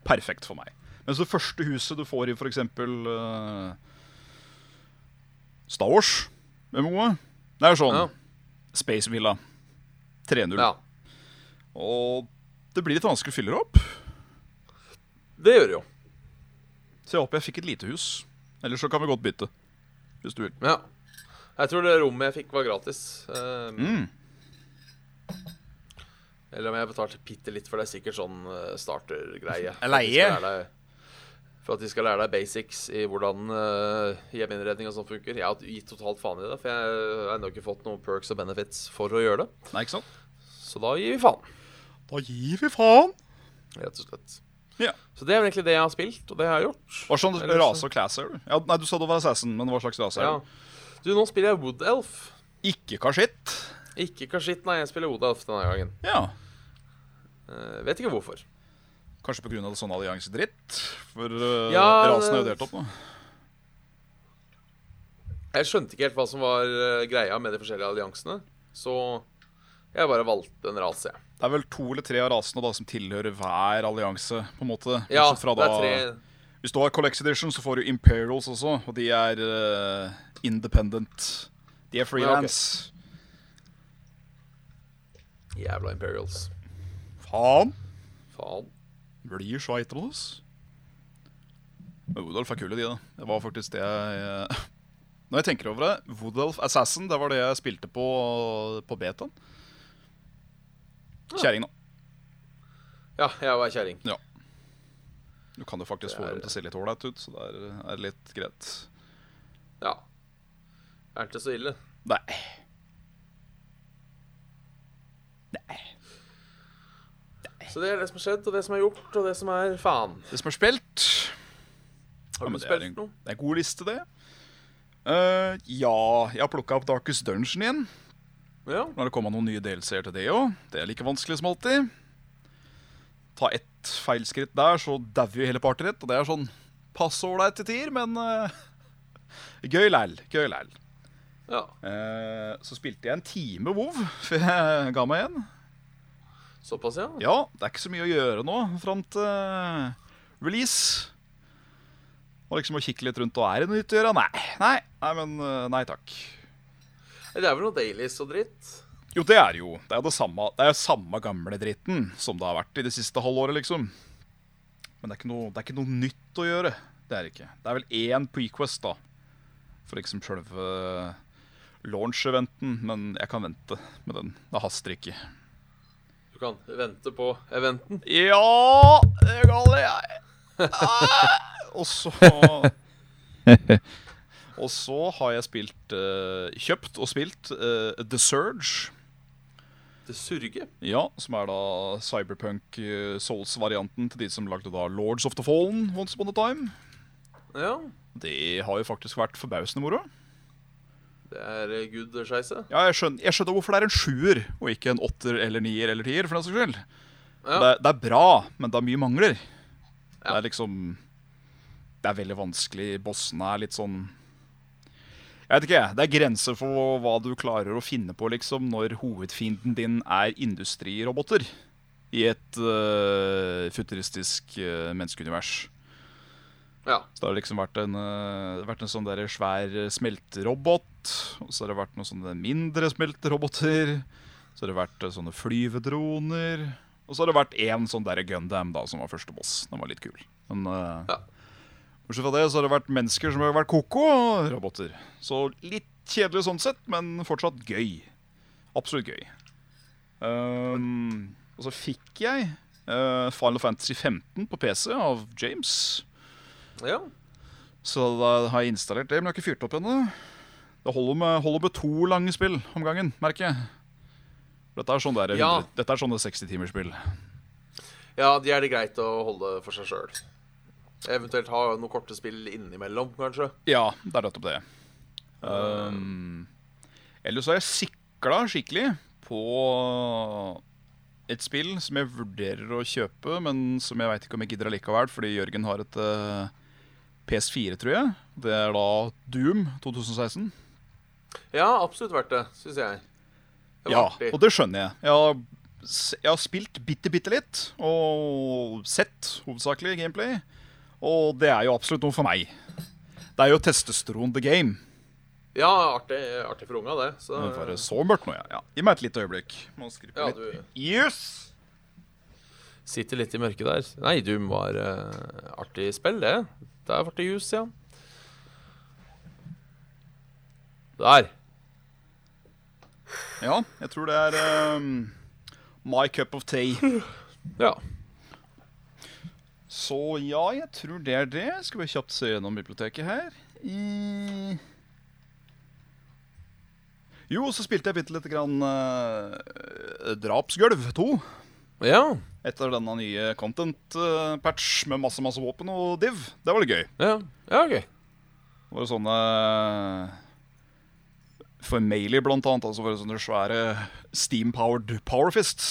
C: perfekt for meg. Mens det første huset du får i f.eks. Uh, Star Wars, MMO-et, det er sånn
B: Ja.
C: Space Villa 3.0.
B: ja.
C: Og det blir litt vanskelig å fylle det opp.
B: Det gjør det jo.
C: Så jeg håper jeg fikk et lite hus. Ellers så kan vi godt bytte, hvis du vil.
B: Ja. Jeg tror det rommet jeg fikk, var gratis. Um,
C: Mm.
B: Eller om jeg betalte bitte litt, for det er sikkert sånn eh, startergreie.
C: En leie?
B: For at de skal lære deg- For at de skal lære deg basics i hvordan eh, hjemmeinnredning og sånt funker. Jeg har gitt totalt faen i det, for jeg har ennå ikke fått noen perks og benefits for å gjøre det.
C: Nei, ikke sant?
B: Så da gir vi faen,
C: Da gir vi faen!
B: rett og slett.
C: Ja.
B: Så det er vel egentlig det jeg har spilt, og det har jeg gjort.
C: Hva slags
B: Eller
C: rase og class er du? Ja, nei, du sa du var assassin, men hva slags rase
B: Ja.
C: er du?
B: Du, nå spiller jeg Wood Elf.
C: Ikke kasjett.
B: Ikke Kasjit, nei, jeg spiller Wood Elf denne gangen.
C: Ja.
B: Eh, vet ikke hvorfor.
C: Kanskje pga. sånn alliansedritt? For uh,
B: Ja,
C: rasen er jo
B: det-
C: delt opp nå.
B: Jeg skjønte ikke helt hva som var eh, greia med de forskjellige alliansene, så jeg bare valgte en rase, jeg.
C: Det er vel to eller tre av rasene da som tilhører hver allianse. på en måte
B: Ja,
C: Bortsett fra
B: det er
C: da-
B: tre
C: Hvis du har Collects Edition, så får du Imperials også, og de er uh, independent. De er freelance.
B: jævla Imperials.
C: Faen!
B: Faen.
C: Blir sveiterne oss? Men Woodolf er kule, de, da. Det var faktisk det jeg eh, Når jeg tenker over det, Woodolf Assassin, det var det jeg spilte på på betaen. Kjerringa.
B: Ja, jeg var kjerring.
C: Du kan jo faktisk
B: Det
C: få
B: er-
C: dem til å se litt ålreit ut, så det er, eh, er litt greit.
B: Ja. Er det ikke så ille?
C: Nei.
B: Så det er det som har skjedd, og det som er gjort, og det som er faen.
C: Det som er spilt
B: Har du
C: men det er
B: spilt
C: en-
B: noe?
C: Det er en god liste, det. Eh, ja, jeg har plukka opp Darkest Dungeon igjen.
B: Ja.
C: Nå har det kommet noen nye delseere til det òg. Det er like vanskelig som alltid. Ta ett feilskritt der, så dauer jo hele partiet ditt. Og det er sånn passe ålreit til tider, men eh, gøy læl. Gøy læl.
B: ja.
C: Eh, så spilte jeg en time WoW før jeg ga meg igjen.
B: Såpass, ja.
C: Ja, det er ikke så mye å gjøre nå fram til eh, release. Og liksom å kikke litt rundt og er det noe nytt å gjøre? Nei. Nei, nei men eh, nei takk.
B: Det er vel noe dailies og dritt?
C: Jo, det er jo. Det er det samme, det er jo samme gamle dritten som det har vært i det siste halvåret, liksom. Men det er ikke noe, det er ikke noe nytt å gjøre. Det er det ikke. Det er vel én prequest, da. For liksom sjølve launch-eventen. Men jeg kan vente med den. Det haster ikke.
B: Du kan vente på eventen.
C: Ja, det galer jeg. Ah, Og så Og så har jeg spilt eh, Kjøpt og spilt eh, The Surge.
B: Det surger.
C: Ja, som er da cyberpunk eh, souls-varianten til de som lagde da Lords of the Fallen once upon a time.
B: Ja.
C: Det har jo faktisk vært forbausende moro.
B: Det er eh, good skeise.
C: Ja, jeg skjønner, jeg skjønner hvorfor det er en sjuer og ikke en åtter eller nier eller tier. for den saks skyld.
B: Ja.
C: Det, det er bra, men det er mye mangler. Det
B: Ja.
C: er liksom Det er veldig vanskelig. Bossene er litt sånn Jeg vet ikke, jeg. Det er grenser for hva du klarer å finne på liksom, når hovedfienden din er industriroboter i et øh, futuristisk øh, menneskeunivers.
B: Ja.
C: Så det har liksom vært en, eh, vært en sånn der svær eh, smelterobot, og så har det vært noen sånne mindre smelteroboter, så har det vært eh, sånne flyvedroner, og så har det vært én sånn der Gundam da, som var første boss. Den var litt kul. Men eh,
B: Ja.
C: bortsett fra det så har det vært mennesker som har vært koko, og roboter. Så litt kjedelig sånn sett, men fortsatt gøy. Absolutt gøy. Um, og så fikk jeg eh, Final Fantasy 15 på PC av James.
B: ja.
C: Så da har jeg installert det, men jeg har ikke fyrt opp ennå. Det holder med, holder med to lange spill om gangen, merker jeg. Dette er sånn der,
B: Ja.
C: 100 Dette er sånne 60-timersspill.
B: Ja, de er det greit å holde for seg sjøl. Eventuelt ha noen korte spill innimellom, kanskje.
C: Ja, det er nettopp det. Um, ellers har jeg sikla skikkelig på et spill som jeg vurderer å kjøpe, men som jeg veit ikke om jeg gidder allikevel, fordi Jørgen har et eh, PS4, tror jeg. Det er da Doom 2016.
B: Ja, absolutt verdt det, syns jeg. Det var
C: Ja,
B: artig.
C: og det skjønner jeg. Jeg har, s- jeg har spilt bitte, bitte litt, og sett hovedsakelig gameplay. Og det er jo absolutt noe for meg. Det er jo testosteron the game.
B: Ja, artig, artig for unga, det. Så,
C: Det var så mørkt nå, ja. ja. Gi meg et lite øyeblikk. Må skrive
B: ja,
C: litt.
B: du
C: Yes!
B: sitter litt i mørket der. Nei, Doom var eh, artig spill, det. Der ble det jus, ja. Der.
C: Ja, jeg tror det er ehm, My Cup of Tea.
B: Ja.
C: Så ja, jeg tror det er det. Skal vi kjapt se gjennom biblioteket her. I... Jo, så spilte jeg bitte lite grann eh, Drapsgulv 2.
B: Ja.
C: Etter denne nye content-patch med masse masse våpen og div. Det var litt gøy.
B: Ja, ja ok.
C: Det var sånne For Mailey, blant annet. Altså var det sånne svære steam-powered powerfists.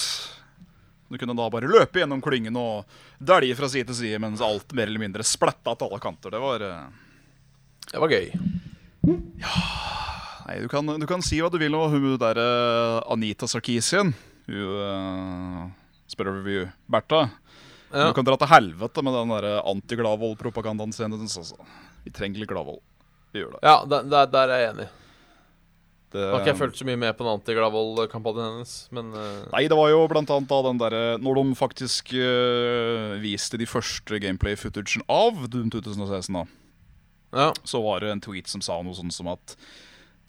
C: Du kunne da bare løpe gjennom klyngen og dælje fra side til side mens alt mer eller mindre splatta til alle kanter. Det var eh,
B: Det var gøy.
C: Nei, du kan, du kan si hva du vil om hun der eh, Anita Sarkisian. Hun uh, spør over view. Bertha.
B: Ja.
C: Du kan dra til helvete med den der anti-Glavold-propagandaen sin. Altså. Vi trenger litt Glavold. Vi gjør det.
B: Ja, der, der, der er jeg enig.
C: det
B: Nå har ikke jeg fulgt så mye med på den anti-Glavold-kampanjen hennes, men eh,
C: Nei, det var jo blant annet da den derre Når de faktisk øh, viste de første gameplay-footagene av Doom 2016, da,
B: ja.
C: så var det en tweet som sa noe sånn som at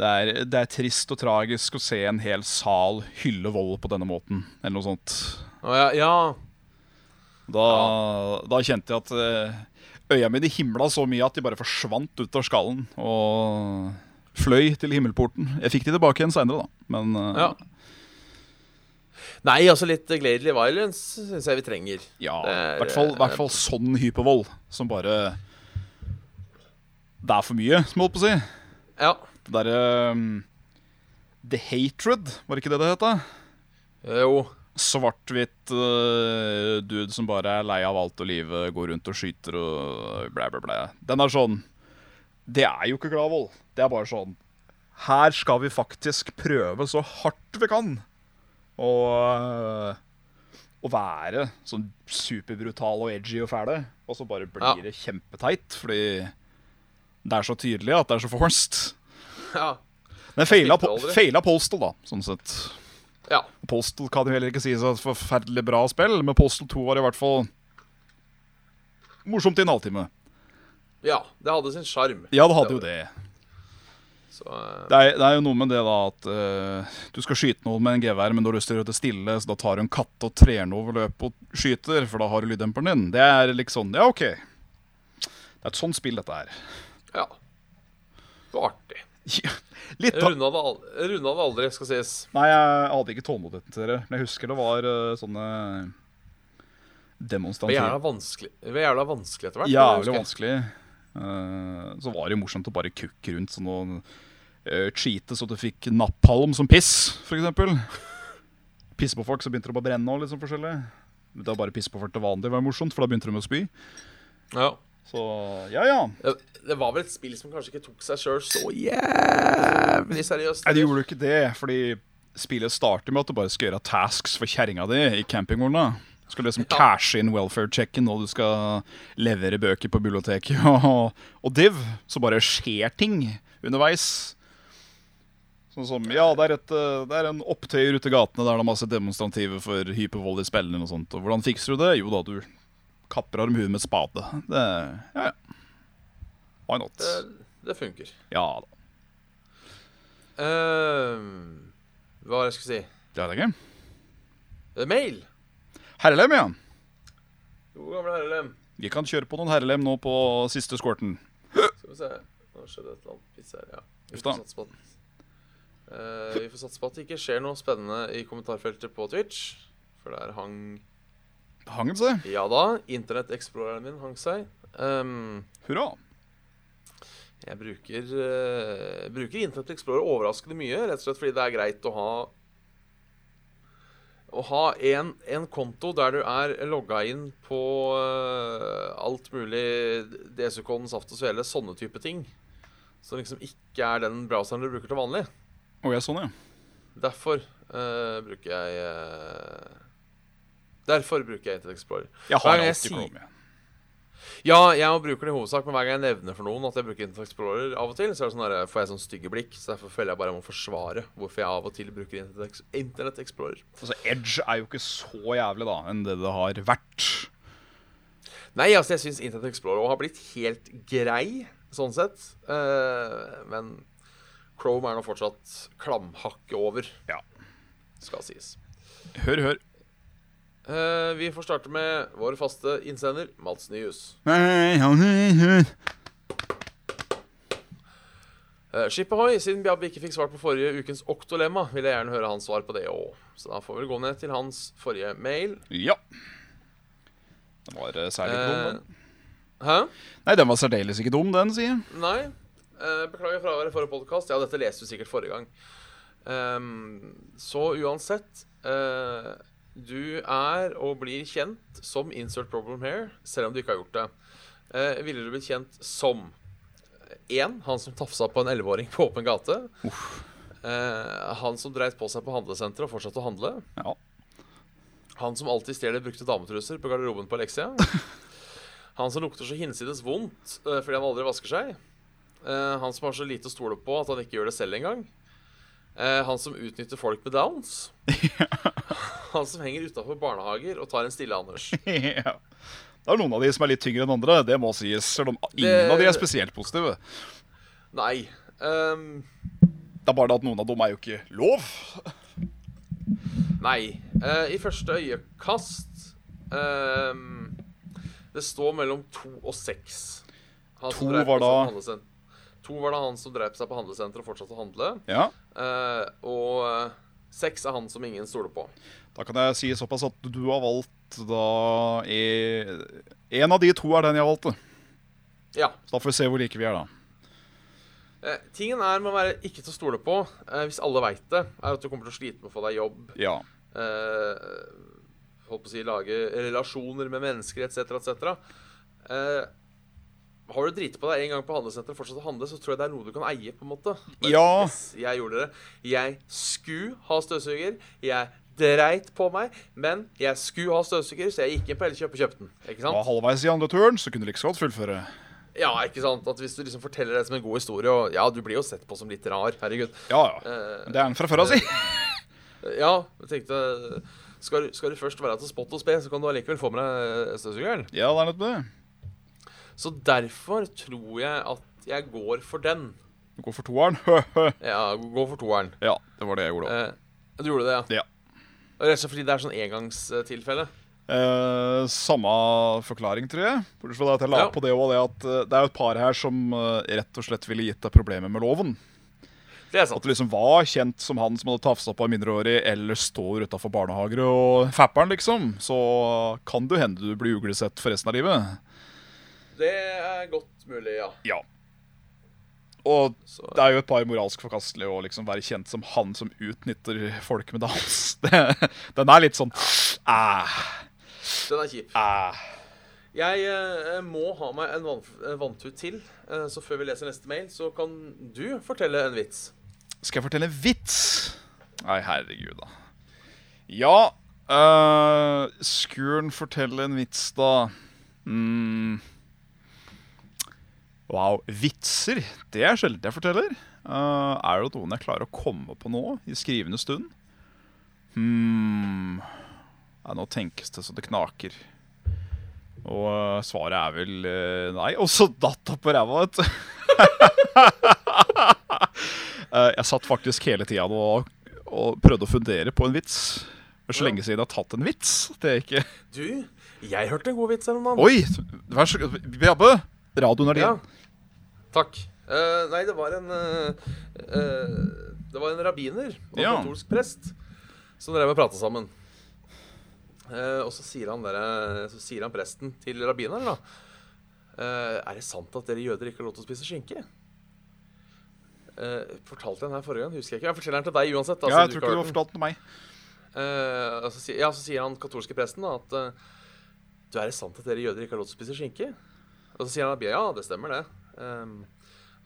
C: det er, det er trist og tragisk å se en hel sal hylle vold på denne måten, eller noe sånt.
B: Å, ja, ja.
C: Da, da kjente jeg at øh, øya mine himla så mye at de bare forsvant ut av skallen og fløy til himmelporten. Jeg fikk de tilbake igjen seinere, da, men øh,
B: Ja. Nei, altså litt Gladely Violence syns jeg vi trenger.
C: Ja,
B: Det er- eh,
C: i hvert fall, hvert fall sånn hypervold som bare Det er for mye, som jeg holdt på å si.
B: Ja.
C: Det derre um, The Hatred, var det ikke det det het? da?
B: Jo.
C: Svart-hvitt eh, dude som bare er lei av alt og livet, går rundt og skyter og blæ, blæ, blæ. Den er sånn Det er jo ikke Glavold. Det er bare sånn Her skal vi faktisk prøve så hardt vi kan å eh, å være sånn superbrutale og edgy og fæle, og så bare blir
B: Ja.
C: det kjempeteit fordi det er så tydelig at det er så forced.
B: Ja.
C: Men feila,
B: slipper aldri.
C: feila Postal, da, sånn sett.
B: ja.
C: Postal kan jo heller ikke sies å være et forferdelig bra spill, men Postal 2 var i hvert fall morsomt i en halvtime.
B: Ja. Det hadde sin sjarm.
C: Ja, det hadde jo det.
B: Så, eh,
C: Det er, det er jo noe med det da at eh, du skal skyte noen med en gevær, men du har lyst til å gjøre det stille, så da tar du en katt og trer den over løpet og skyter, for da har du lyddemperen din. Det er liksom Ja, OK. Det er et sånt spill, dette her.
B: ja. Det var artig.
C: Ja, Litt
B: Jeg
C: av
B: Runda det al- jeg runda det aldri, skal sies.
C: Nei, jeg hadde ikke tålmodigheten til det, men jeg husker det var eh, sånne
B: Det var
C: demonstrativer.
B: jævla vanskelig, det var jævla vanskelig etter hvert.
C: Jævlig
B: husker jeg.
C: vanskelig. Eh, så var det jo morsomt å bare kukke rundt sånn og eh, cheate så du fikk napalm som piss, f.eks. Pisse på folk, så begynte det bare å brenne og litt sånn forskjellig. Men Da bare pisse på folk til vanlig var morsomt, for da begynte de å spy.
B: Ja.
C: Så ja, ja.
B: Det, det var vel et spill som kanskje ikke tok seg sjøl så jævlig seriøst.
C: Nei, de gjorde jo ikke det, fordi spillet starter med at du bare skal gjøre tasks for kjerringa di i campingvogna. Du skal liksom
B: Ja.
C: cashe inn welfare-checken, og du skal levere bøker på biblioteket og, og div. Så bare skjer ting underveis. Sånn som Ja, det er, et, eh, det er en opptøyer ute i gatene der det er masse demonstrativer for hypervold i spillene og sånt. Og hvordan fikser du det? Jo da, du kapper av dem huet med spade. Det Ja, ja. Why not?
B: det, det funker.
C: Ja da.
B: Eh, hva var det jeg skulle si?
C: Det er det ikke.
B: Eh, Mail.
C: Herrelem, ja.
B: God gamle herrelem.
C: Vi kan kjøre på noen herrelem nå på siste skorten.
B: Skal vi se Nå skjedde et eller annet piss her, ja. Vi
C: Uff da.
B: får satse på at Eh, Vi får satse på at det ikke skjer noe spennende i kommentarfeltet på Twitch. For der hang
C: Hang den seg?
B: Ja da, internett-exploreren min hang seg. Ehm,
C: Hurra.
B: jeg bruker, eh, bruker Internet Explorer overraskende mye, rett og slett fordi det er greit å ha å ha en, en konto der du er logga inn på eh, alt mulig Desicon, Saft og Svele, sånne type ting. Som liksom ikke er den browseren du bruker til vanlig.
C: Å, jeg er sånn, ja.
B: Derfor eh, bruker jeg eh, Derfor bruker jeg Internet Explorer.
C: Jeg
B: Nei,
C: har
B: jeg
C: alltid
B: sier-
C: Chrome. jeg.
B: Ja, jeg også bruker det i hovedsak, men hver gang jeg nevner for noen at jeg bruker Internet Explorer av og til, så er det sånn der, får jeg sånn stygge blikk. Så derfor føler jeg bare jeg må forsvare hvorfor jeg av og til bruker Internet Ex- Internet Explorer.
C: Altså, Edge er jo ikke så jævlig da enn det det har vært.
B: Nei, altså, jeg syns Internet Explorer også har blitt helt grei, sånn sett. Eh, men Chrome er nå fortsatt klamhakket over,
C: Ja.
B: skal sies.
C: Hør, hør.
B: Eh, vi får starte med vår faste innsender, Mats Nyhus.
C: Nei, ja, nei, hør.
B: Eh, Skip Ahoy, siden Bjabbe ikke fikk svar på forrige ukens oktolemma, vil jeg gjerne høre hans svar på det òg. Så da får vi gå ned til hans forrige mail.
C: Ja. Den var eh, særlig ikke dum, den.
B: Eh, hæ?
C: Nei, den var særdeles ikke dum, den, sier jeg.
B: Nei. Eh, beklager fraværet forrige podkast. Ja, dette leste du sikkert forrige gang. Ehm, så uansett eh, Du er og blir kjent som Insert Problem Here, selv om du ikke har gjort det. Eh, ville du blitt kjent som én, han som tafsa på en 11-åring på åpen gate? Eh, han som dreit på seg på handlesenteret og fortsatte å handle?
C: Ja.
B: Han som alltid stjeler brukte dametruser på garderoben på Alexia. Han som lukter så hinsides vondt eh, fordi han aldri vasker seg. Eh, Han som har så lite å stole på at han ikke gjør det selv engang. Eh, Han som utnytter folk med downs. Han som henger utafor barnehager og tar en stille Anders.
C: ja. Det er noen av de som er litt tyngre enn andre, det må sies. Selv om ingen av de er spesielt positive.
B: Nei. ehm,
C: Det er bare det at noen av dem er jo ikke lov.
B: Nei. Eh, I første øyekast ehm, Det står mellom to og seks. Han som
C: To
B: drev
C: var
B: på seg på
C: da-
B: handlesen- To var da han som drev seg på handlesenteret og fortsatte å handle.
C: Ja.
B: Eh, og eh, seks er han som ingen stoler på.
C: Da kan jeg si såpass at du har valgt da e... En av de to er den jeg valgte.
B: Ja.
C: Så da får vi se hvor like vi er, da.
B: Eh, tingen er med å være ikke til å stole på, eh, hvis alle veit det, er at du kommer til å slite med å få deg jobb.
C: Ja.
B: Eh, holdt på å si lage relasjoner med mennesker etc., etc. Eh, har du driti på deg en gang på handlesenteret og fortsatt å handle, så tror jeg det er noe du kan eie. på en måte Bare,
C: Ja.
B: Yes, jeg gjorde det. Jeg skulle ha støvsuger. Jeg dreit på meg, men jeg skulle ha støvsuger, så jeg gikk inn på Elkjøp og kjøpte den. Ikke sant?
C: Og halvveis i andre turen, så kunne du like så godt fullføre.
B: Ja, ikke sant? At Hvis du liksom forteller det som en god historie og Ja, du blir jo sett på som litt rar, herregud.
C: Ja, ja.
B: Eh,
C: Det er den fra før av, si.
B: ja, jeg tenkte skal, du- skal du først være til spott og spe, så kan du allikevel få med deg støvsugeren.
C: Ja, det er nettopp det.
B: Så derfor tror jeg at jeg går for den.
C: Du går for toeren.
B: Ja, går for toeren.
C: ja, det var det jeg gjorde òg.
B: Eh, du gjorde det, ja?
C: Ja.
B: Rett og slett fordi det er sånn engangstilfelle.
C: Eh, samme forklaring, tror jeg. Bortsett fra det at jeg la
B: Ja.
C: på det også, det at eh, det er jo et par her som eh, rett og slett ville gitt deg problemer med loven.
B: Det er
C: At
B: sant.
C: du liksom var kjent som han som hadde tafsa på en mindreårig, eller står utafor barnehager og fapper'n, liksom. Så kan det jo hende du blir uglesett for resten av livet.
B: Det er godt mulig, ja.
C: Ja. Og
B: Så,
C: det er jo et par moralsk forkastelige å liksom være kjent som han som utnytter folk med dans. Det, den er litt sånn æh,
B: den er kjip.
C: æh.
B: Jeg eh, må ha meg en vann, en vanntut til, eh, så før vi leser neste mail, så kan du fortelle en vits.
C: Skal jeg fortelle en vits? Nei, herregud, da. Ja øh, Skuren fortelle en vits, da. Mm. Wow. Vitser, det er sjelden jeg forteller. Øh, er det noen jeg klarer å komme på nå, i skrivende stund? Hmm. Nei, nå tenkes det så det knaker. Og øh, svaret er vel øh, nei. Og så datt opp på ræva, vet du. Eh, Jeg satt faktisk hele tida og, og prøvde å fundere på en vits. Det er så lenge siden jeg har tatt en vits. Det er ikke
B: Du, jeg hørte en god vits her om dagen.
C: Oi! Vær så god. Jabbe! Radioen er din.
B: Ja. Takk. Eh, nei, det var en eh, eh, Det var en rabbiner og en
C: Ja.
B: katolsk prest som drev og prata sammen. Eh, og så sier, han der, eh, så sier han presten til rabbineren, da. Eh, er det sant at dere jøder ikke har lov til å spise skinke? Eh, fortalte jeg den her forrige gang? Husker jeg ikke. Jeg forteller den til deg uansett. da,
C: Ja,
B: siden
C: jeg tror ikke du
B: har
C: har
B: hørt den.
C: fortalt den til meg.
B: Eh, og så sier- ja, så sier han katolske presten da, at eh, du, er det sant at dere jøder ikke har lov til å spise skinke? Og så sier han ja, det stemmer det. Ehm,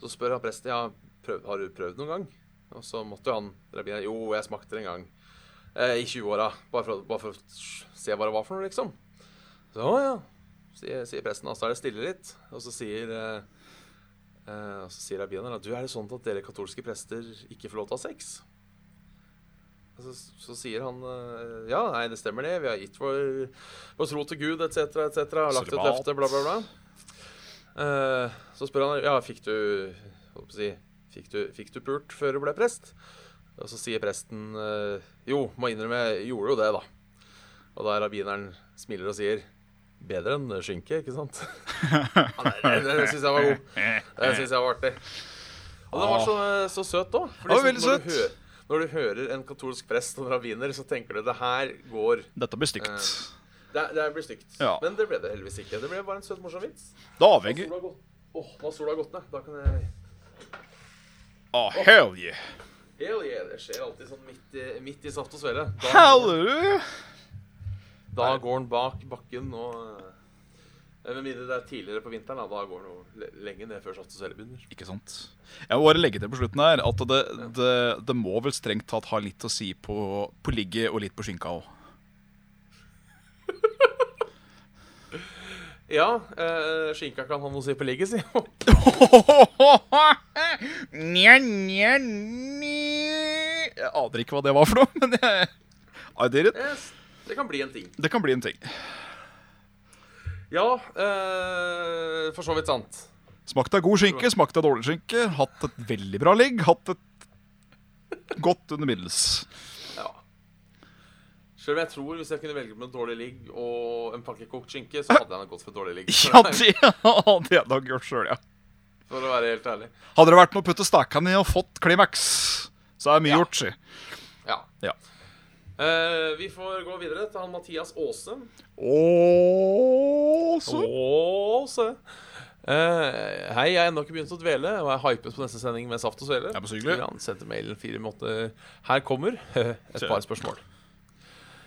B: så spør han presten ja, prøv, har du prøvd noen gang. Og så måtte jo han rabbineren jo, jeg smakte det en gang eh, i 20-åra. Bare, for å- bare for å se hva det var for noe, liksom. Så å ja, sier, sier presten. Og så er det stille litt. Og så sier eh, eh, og så sier rabbineren at du, er det sånn at dere katolske prester ikke får lov til å ha sex? Og Så, så sier han eh, ja, nei, det stemmer det. Vi har gitt vår, vår tro til Gud etc. etc. Har lagt et
C: Servat.
B: løfte, bla, bla, bla. Eh, så spør han ja, fikk du, holdt på å si, fikk du, fikk du pult før du ble prest. Og så sier presten eh, jo, må innrømme, jeg gjorde jo det, da. Og da rabbineren smiler og sier bedre enn skinke, ikke sant? ja, det det, det syns jeg var god. Det syns jeg var artig. Og den var så, så søt òg.
C: Ja, Ah. veldig søt.
B: Når du hører en katolsk prest og en rabbiner, så tenker du det her går
C: Dette blir stygt.
B: Eh. Det, det blir stygt.
C: Ja.
B: Men det ble det heldigvis ikke. Det ble bare en søt, morsom vits.
C: Det
B: Når
C: avhenger
B: sola har gått- Åh, nå har sola gått ned. Da kan jeg
C: Ah, hell yeah!
B: Hell yeah, det skjer alltid sånn midt i, midt i saft og svele. Da,
C: Halleluja!
B: da går den bak bakken og eh, Med mindre det er tidligere på vinteren, da, da går den jo le- lenge ned før saft og svele begynner.
C: Ikke sant? Jeg må bare legge til på slutten her at det, det, det må vel strengt tatt ha litt å si på, på ligget og litt på skinka òg.
B: Ja, eh, skinka kan ha noe å si på ligget, sier hun.
C: Nja, nja, nja. Jeg aner ikke hva det var for noe, men jeg I did it.
B: Yes, det kan bli en ting.
C: Det kan bli en ting.
B: Ja, eh, for så vidt sant.
C: Smakte av god skinke, smakte av dårlig skinke. Hatt et veldig bra ligg, hatt et godt under middels.
B: Ja. Selv om jeg tror hvis jeg kunne velge mellom dårlig ligg og en pakkekokt skinke, så hadde jeg nok gått for dårlig ligg.
C: Ja, det hadde jeg nok gjort sjøl, ja.
B: For å være helt ærlig.
C: Hadde det vært med å putte stakene i og fått klimaks, så er det mye
B: Ja.
C: gjort, si.
B: Ja.
C: Ja.
B: Eh, vi får gå videre til han Mathias Aase.
C: Åh, så
B: Åse. Eh, hei, jeg har ennå ikke begynt å dvele, og jeg hypes på neste sending med Saft og Svele.
C: Ja, men så hyggelig.
B: Skriver Han sendte mailen fire måneder. Her kommer et par spørsmål.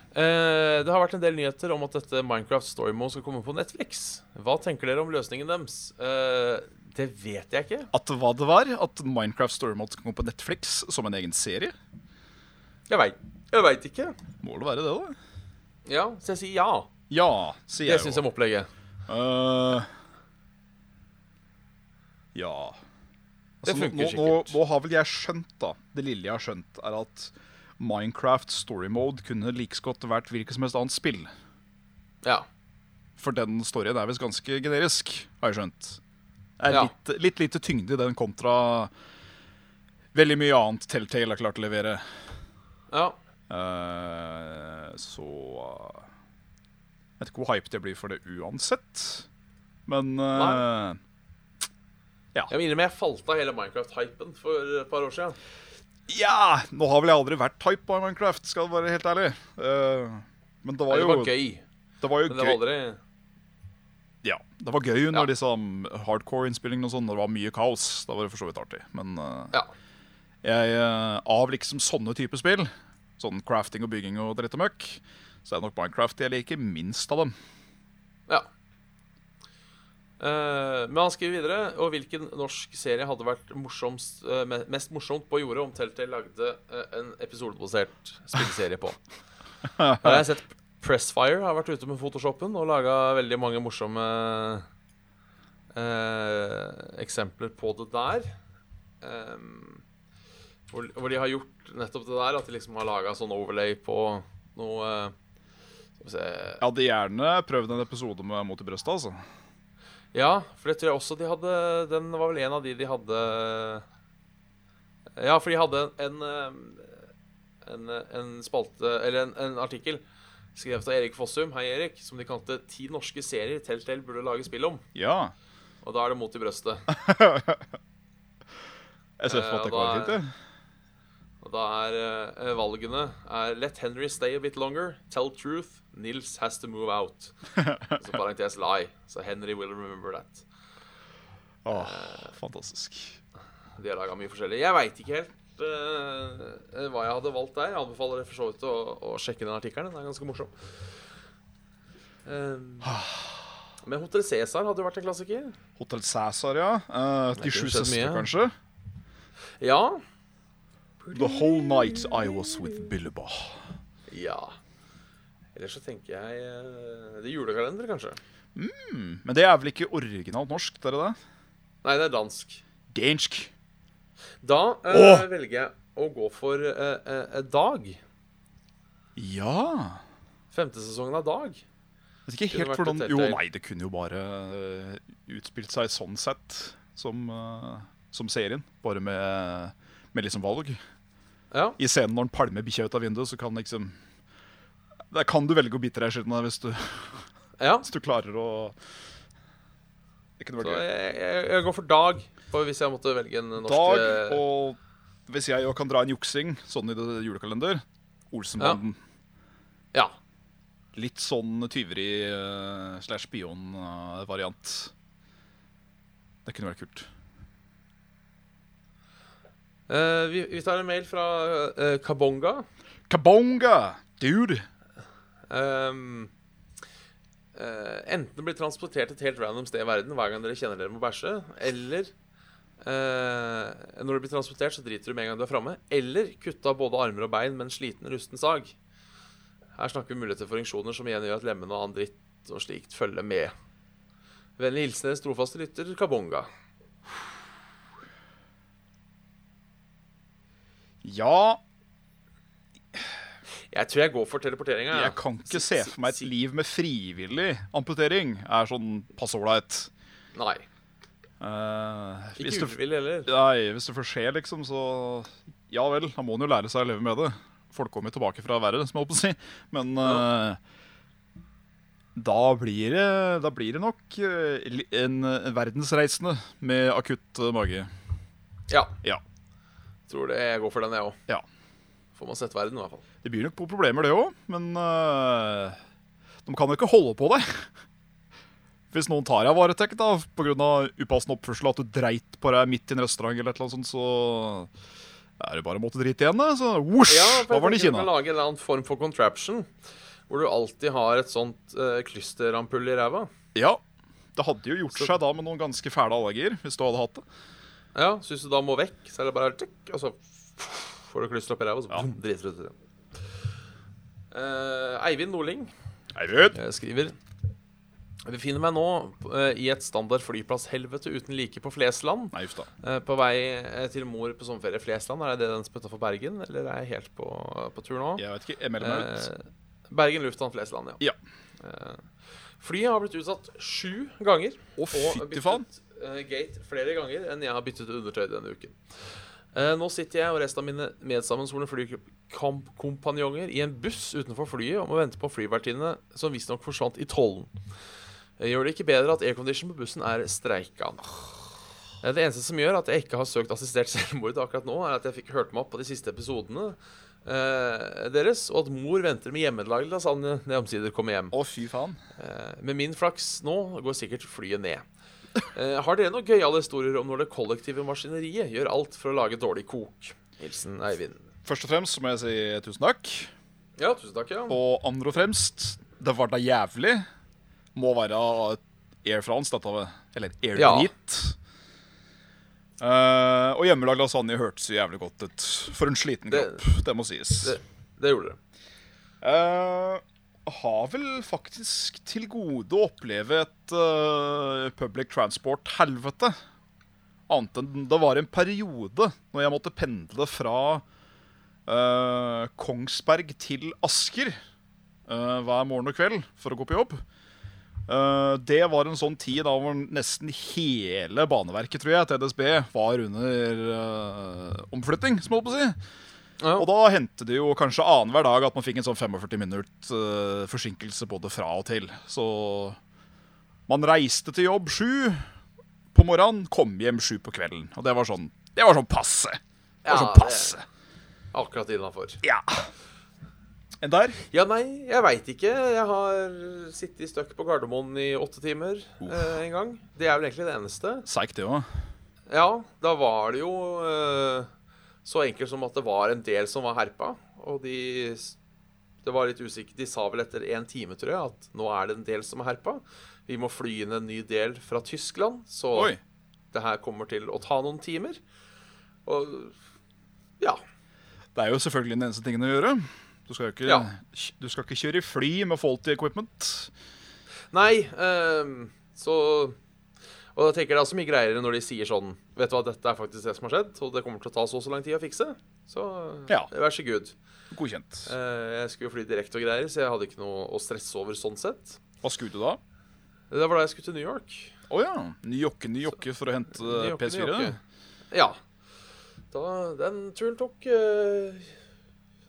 B: Eh, det har vært en del nyheter om at dette Minecraft Storymo skal komme på Netflix. Hva tenker dere om løsningen deres? Eh, det vet jeg ikke.
C: At hva det var? At Minecraft Storymod skal komme på Netflix som en egen serie?
B: Jeg veit jeg vet ikke.
C: Må det være det, da?
B: Ja, Så jeg sier ja.
C: Ja, sier
B: Det
C: jeg,
B: syns
C: jo.
B: jeg må opplegge.
C: Eh, ja Altså,
B: Det funker
C: nå, nå,
B: sikkert.
C: nå har vel jeg skjønt, da. Det lille jeg har skjønt, er at Minecraft Story Mode kunne like så godt vært hvilket som helst annet spill.
B: Ja.
C: For den storyen er visst ganske generisk, har jeg skjønt. Det er
B: Ja.
C: litt, litt lite tyngde i den kontra veldig mye annet Telltale har klart å levere.
B: ja.
C: Eh, så eh, Jeg vet ikke hvor hyped jeg blir for det uansett, men eh,
B: Jeg må innrømme jeg falt av hele Minecraft-hypen for et par år siden.
C: Ja! Nå har vel jeg aldri vært type av Minecraft, skal jeg være helt ærlig. Eh, men det var
B: Det
C: jo,
B: var gøy,
C: det var jo
B: men det var
C: gøy.
B: aldri
C: Ja, det var gøy
B: Ja.
C: når disse um, hardcore-innspillingene og sånn, når det var mye kaos. Da var det for så vidt artig. Men eh,
B: Ja.
C: jeg, eh, av liksom sånne typer spill, sånn crafting og bygging og dritt og møkk, så er det nok Minecraft jeg liker minst av dem.
B: Ja. Eh, men han skriver videre Og hvilken norsk serie hadde vært morsomst, eh, me- mest morsomt på jordet om Telltale lagde eh, en episodebasert spillserie på? Der har jeg sett Pressfire har vært ute med Photoshopen og laga veldig mange morsomme eh, eksempler på det der. Ehm, hvor, hvor de har gjort nettopp det der, at de liksom har laga sånn overlay på noe eh, Skal vi se
C: Jeg hadde gjerne prøvd en episode med Mot i brøstet, altså.
B: Ja, for det tror jeg også de hadde Den var vel en av de de hadde Ja, for de hadde en En, eh, en, en spalte Eller en, en artikkel skrevet av Erik Fossum, hei Erik, som de kalte 'Ti norske serier Telltale burde lage spill om'.
C: Ja.
B: Og da er det mot i brøstet.
C: Jeg ser for meg at det går
B: Eh, og da-
C: fint, jeg.
B: Og da er eh, valgene er Let Henry stay a bit longer. Tell truth. Nils has to move out. Og Så parentes lie. Så Henry will remember that.
C: Åh, fantastisk.
B: De har laga mye forskjellig. Jeg veit ikke helt eh, hva jeg hadde valgt der. Jeg anbefaler dere for så vidt å, å sjekke den artikkelen. Den er ganske morsom. Eh, men Hotel Cæsar hadde jo vært en klassiker.
C: Hotell Cæsar, ja. Eh, de
B: Det
C: sju
B: kunne skjedd
C: søstre,
B: mye.
C: kanskje.
B: Ja.
C: The whole night I was with Billeba.
B: Ja. Ellers så tenker jeg eh, Det er julekalender, kanskje.
C: Men det er vel ikke originalt norsk? det er det det?
B: Nei, det er dansk.
C: Dansk.
B: Da eh,
C: Åh!
B: velger jeg å gå for eh, eh, Dag.
C: Ja
B: Femte sesongen av Dag.
C: Vet ikke
B: Kunne
C: helt
B: vært
C: hvordan
B: et
C: Jo,
B: Telltale.
C: nei, det kunne jo bare eh, utspilt seg sånn sett som, eh, som serien. Bare med, med liksom valg.
B: Ja.
C: I scenen når han palmer bikkja ut av vinduet, så kan liksom Der kan du velge å bite deg i skitten da, hvis, du-
B: ja.
C: hvis du klarer å Det kunne
B: Så
C: vært gøy.
B: jeg, jeg, jeg går for Dag, for hvis jeg måtte velge en norsk
C: Dag,
B: eh,
C: og hvis jeg òg kan dra en juksing sånn i det julekalender Olsenbanden.
B: Ja.
C: Litt sånn tyveri eh, slash spion-variant. det kunne vært kult.
B: Eh, vi, vi tar en mail fra eh, Kabonga.
C: Kabonga! Dude!
B: Ehm, eh, enten bli transportert et helt random sted i verden hver gang dere kjenner dere må bæsje, eller eh, Når du blir transportert, så driter du med en gang du er framme. Eller kutte av både armer og bein med en sliten, rusten sag. Her snakker vi muligheter for funksjoner som igjen gjør at lemmene og annen dritt og slikt følger med. Vennlig hilsen deres trofaste lytter Kabonga.
C: Ja,
B: Jeg tror jeg går for teleporteringa.
C: jeg kan ikke se for meg et liv med frivillig amputering. Er sånn passe ålreit.
B: Nei.
C: Eh, hvis,
B: Ikke
C: det-
B: ufrivillig heller.
C: nei, hvis det får skje, liksom, så Ja vel, da må en jo lære seg å leve med det. Folk kommer jo tilbake fra verre, som jeg holdt på å si. Men eh, da, blir det, da blir det nok eh, li- en, en verdensreisende med akutt eh, mage.
B: Ja.
C: Ja.
B: Tror det jeg går for den, jeg òg.
C: Ja.
B: Får man sett verden, i hvert fall.
C: Det byr nok på problemer, det òg, men øh, de kan jo ikke holde på deg. Hvis noen tar deg i varetekt da, pga. upassende oppførsel, at du dreit på deg midt i en restaurant, eller et eller annet sånt, så er det bare å måtte drite igjen. Da. Så wosj,
B: Ja, for
C: da var den i
B: jeg tenker Du
C: Kina.
B: kan lage en eller annen form for contraption. Hvor du alltid har et sånt eh, klysterampull i ræva.
C: Ja, Det hadde jo gjort
B: Så-
C: seg da med noen ganske fæle allergier, hvis du hadde hatt det.
B: Ja, så hvis du da må vekk, så er det bare tikk, og så får du klyster opp i ræva, og så
C: Ja.
B: boom, driter du ut i det. Eh, Eivind Nordling
C: Eivind!
B: eh, skriver Jeg befinner meg nå eh, i et standard flyplasshelvete uten like på Flesland.
C: Nei, uff da.
B: Eh, på vei eh, til mor på sommerferie i Flesland. Er det det den som er utenfor Bergen, eller er jeg helt på, på tur nå?
C: Jeg vet ikke. Jeg melder meg ut.
B: Eh, Bergen lufthavn Flesland, ja. Eh, flyet har blitt utsatt sju ganger.
C: Å, fytti faen.
B: eh, gate flere ganger enn jeg har byttet undertøy denne uken. Eh, nå sitter jeg og resten av mine medsammensvorne flykompanjonger i en buss utenfor flyet og må vente på en flyvertinne som visstnok forsvant i tollen. Eh, Gjør det ikke bedre at aircondition på bussen er streika? Eh, Det eneste som gjør at jeg ikke har søkt assistert selvmord akkurat nå, er at jeg fikk hørt meg opp på de siste episodene eh, deres, og at mor venter med hjemmelagd lasagne når jeg omsider kommer hjem.
C: Å, fy faen.
B: Eh, med min flaks nå går sikkert flyet ned. Eh, har dere noen gøyale historier om når det kollektive maskineriet gjør alt for å lage dårlig kok? Hilsen Eivind.
C: Først og fremst så må jeg si tusen takk.
B: Ja, tusen takk, ja.
C: Og andre og fremst, det var da jævlig. Må være Air France, dette. var- Eller Air
B: Ja.
C: Heat. Eh, og hjemmelagd lasagne hørtes så jævlig godt ut. For en sliten
B: Det-
C: kropp, det, må sies.
B: Det, det gjorde dere.
C: Eh, har vel faktisk til gode å oppleve et eh, public transport-helvete. Annet enn det var en periode når jeg måtte pendle fra eh, Kongsberg til Asker eh, hver morgen og kveld for å gå på jobb. Eh, det var en sånn tid da hvor nesten hele baneverket tror jeg, til DSB var under eh, omflytting, som jeg holdt på å si.
B: Ja.
C: Og da hendte det jo kanskje annenhver dag at man fikk en sånn 45 minutt eh, forsinkelse både fra og til. Så man reiste til jobb sju på morgenen, kom hjem sju på kvelden. Og det var sånn, det var sånn passe. Det
B: Ja,
C: var sånn
B: det-
C: passe.
B: Akkurat innafor.
C: Ja. Enn der?
B: Ja, nei, jeg veit ikke. Jeg har sittet støkk på Gardermoen i åtte timer eh, en gang. Det er vel egentlig det eneste.
C: Seigt, det òg.
B: Ja, da var det jo eh, så enkelt som at det var en del som var herpa. Og de s- Det var litt usikkert. De sa vel etter én time, tror jeg, at nå er det en del som er herpa. Vi må fly inn en ny del fra Tyskland, så
C: Oi.
B: det her kommer til å ta noen timer. Og ja.
C: Det er jo selvfølgelig den eneste tingen å gjøre. Du skal jo ikke,
B: Ja.
C: du skal ikke kjøre i fly med faulty equipment.
B: Nei, ehm, så Og da tenker jeg det er også mye greiere når de sier sånn Vet du hva, dette er faktisk det som har skjedd, og det kommer til å ta så og så lang tid å fikse. Så
C: Ja.
B: vær så god.
C: Godkjent.
B: Eh, Jeg skulle jo fly direkte og greier, så jeg hadde ikke noe å stresse over sånn sett.
C: Hva skulle du da?
B: Det var da jeg skulle til New York.
C: Å ja. Ny jokke, ny jokke for å hente
B: New York,
C: PS4.
B: New York. Ja. Da, den turen tok eh,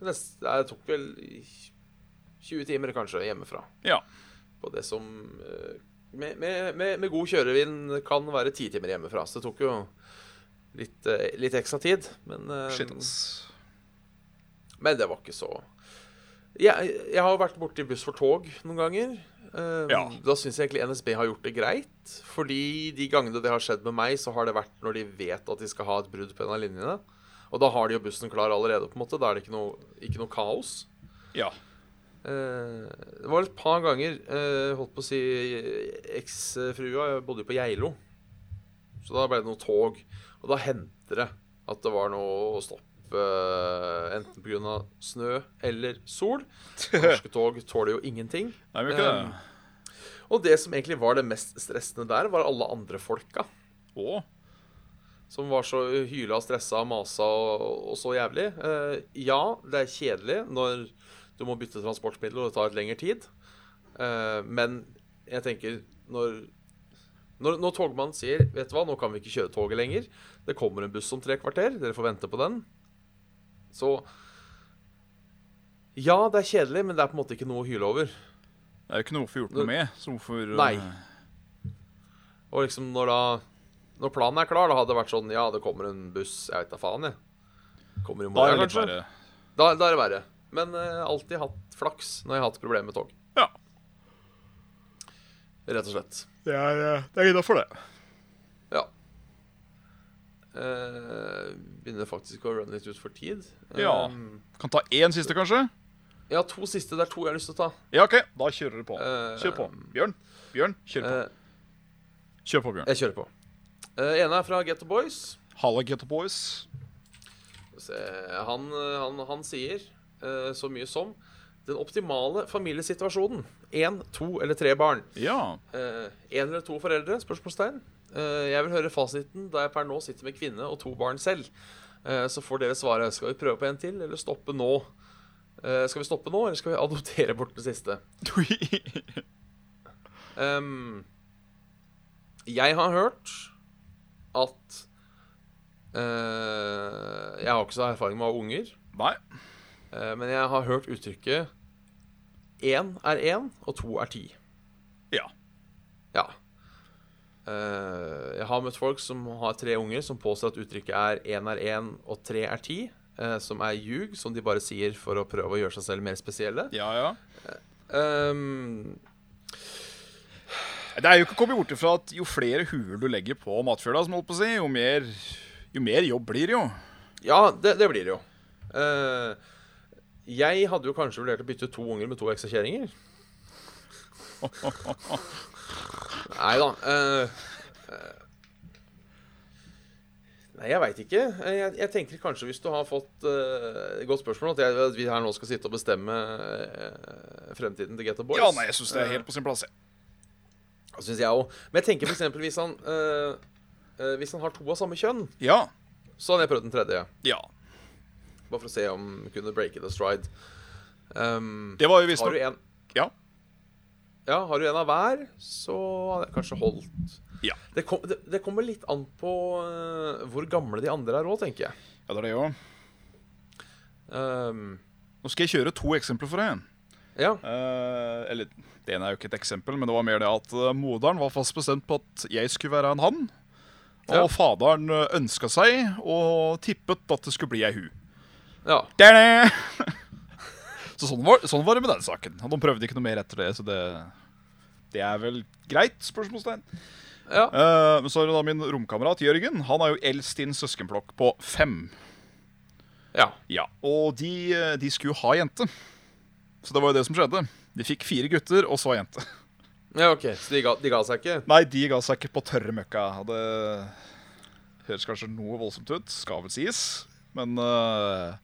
B: nest, Nei, det tok vel 20 timer, kanskje, hjemmefra.
C: Ja.
B: På det som eh, med, med, med, med god kjørevind kan være ti timer hjemmefra. Så det tok jo litt, eh, litt ekstra tid. Men, eh,
C: Shit, ass.
B: men det var ikke så Jeg, jeg har jo vært borti buss for tog noen ganger. Eh,
C: Ja.
B: Da syns jeg egentlig NSB har gjort det greit. Fordi de gangene det har skjedd med meg, så har det vært når de vet at de skal ha et brudd på en av linjene. Og da har de jo bussen klar allerede. på en måte Da er det ikke noe, ikke noe kaos.
C: Ja.
B: Eh, det var et par ganger eh, Holdt på å si Eksfrua bodde jo på Geilo. Så da ble det noe tog. Og da hendte det at det var noe stopp. eh, enten pga. snø eller sol. Norske tog tåler jo ingenting.
C: Nei, men ikke
B: Um, Og det som egentlig var det mest stressende der, var alle andre folka.
C: det. Å.
B: Som var så hyla og stressa og masa og, og så jævlig. Eh, ja, det er kjedelig når du må bytte transportmiddel og det tar et lengre tid. Eh, men jeg tenker når, når Når togmannen sier Vet du hva, nå kan vi ikke kjøre toget lenger. Det kommer en buss om tre kvarter. Dere får vente på den. Så Ja, det er kjedelig, men det er på en måte ikke noe å hyle over.
C: Det er jo ikke noe hvorfor gjort noe med. Så hvorfor eh,
B: Nei. Og liksom når da Når planen er klar, da hadde det vært sånn Ja, det kommer en buss. Jeg veit da faen, jeg. Kommer i
C: Da er
B: morgen,
C: det litt
B: kanskje.
C: verre.
B: Da, da er det verre. Men eh, alltid hatt flaks når jeg har hatt problemer med tog.
C: Ja.
B: Rett og slett.
C: Det er, uh, det er innafor, det.
B: Ja. Eh, begynner faktisk å runne litt ut for tid.
C: Ja.
B: Um,
C: Kan ta én siste, kanskje?
B: jeg har to siste. Det er to jeg har lyst til å ta.
C: Ja, OK. Da kjører du på.
B: Eh,
C: Kjør på. Bjørn. Bjørn, kjør på.
B: Eh,
C: Kjør på, Bjørn.
B: jeg kjører på. Uh, ene er fra Get the Boys.
C: Halla, Ghetto Boys.
B: Skal vi se. Han, eh, han, han sier eh, så mye som den optimale familiesituasjonen. Én, to eller tre barn.
C: Ja.
B: Eh, en eller to foreldre? Spørsmålstegn. Eh, jeg vil høre fasiten, da jeg per nå sitter med kvinne og to barn selv. Eh, så får dere svaret. Skal vi prøve på en til, eller stoppe nå? Eh, skal vi stoppe nå, eller skal vi adoptere bort det siste? Ehm, jeg har hørt at eh, Jeg har ikke så erfaring med å ha unger,
C: Nei.
B: eh, men jeg har hørt uttrykket én er én, og to er ti.
C: Ja.
B: Ja. Eh, jeg har møtt folk som har tre unger, som påstår at uttrykket er én er én og tre er ti. eh, som er ljug, som de bare sier for å prøve å gjøre seg selv mer spesielle.
C: Ja, ja.
B: Ehm,
C: Det er jo ikke å komme bort ifra at jo flere huer du legger på matfjøla, som holdt på å si, jo mer, jo mer jobb blir det jo.
B: ja, det, det blir det jo. Eh, jeg hadde jo kanskje vurdert å bytte ut to unger med to ekstra kjerringer. Nei da. eh, eh, nei, jeg veit ikke. Eh, Jeg, jeg tenker kanskje hvis du har fått eh, et godt spørsmål, at, jeg, at vi her nå skal sitte og bestemme eh, fremtiden til Get the Boys.
C: Ja, nei, jeg syns det er helt på sin plass. jeg.
B: Det synes jeg også. Men jeg tenker f.eks. hvis han eh, eh, Hvis han har to av samme kjønn,
C: Ja.
B: så hadde jeg prøvd den tredje.
C: Ja.
B: Bare for å se om hun kunne breake the stride. Um,
C: Det var
B: har,
C: jo
B: du
C: visstnok
B: en,
C: Ja.
B: ja, har du en av hver, så hadde jeg kanskje holdt.
C: Ja.
B: Det, kom, det, det kommer litt an på eh, hvor gamle de andre er òg, tenker jeg.
C: ja, det er det jo.
B: Um,
C: Nå skal jeg kjøre to eksempler for deg.
B: ja.
C: Eh, eller det ene er jo ikke et eksempel, men det var mer det at eh, moderen var fast bestemt på at jeg skulle være en han. Og
B: Ja.
C: faderen ønska seg og tippet at det skulle bli ei hu.
B: Ja.
C: Derne! Så sånn var, sånn var det med den saken. Og de prøvde ikke noe mer etter det, så det Det er vel greit? spørsmålstegn.
B: ja.
C: Eh, men så er det da min romkamerat Jørgen. Han er jo eldst i en søskenflokk på fem.
B: ja.
C: Ja, Og de, eh, de skulle jo ha jente. Så det var jo det som skjedde. De fikk fire gutter, og så jente.
B: Ja, OK. Så de ga, de ga seg ikke?
C: Nei, de ga seg ikke på tørre møkka. Det høres kanskje noe voldsomt ut, skal vel sies. Men eh,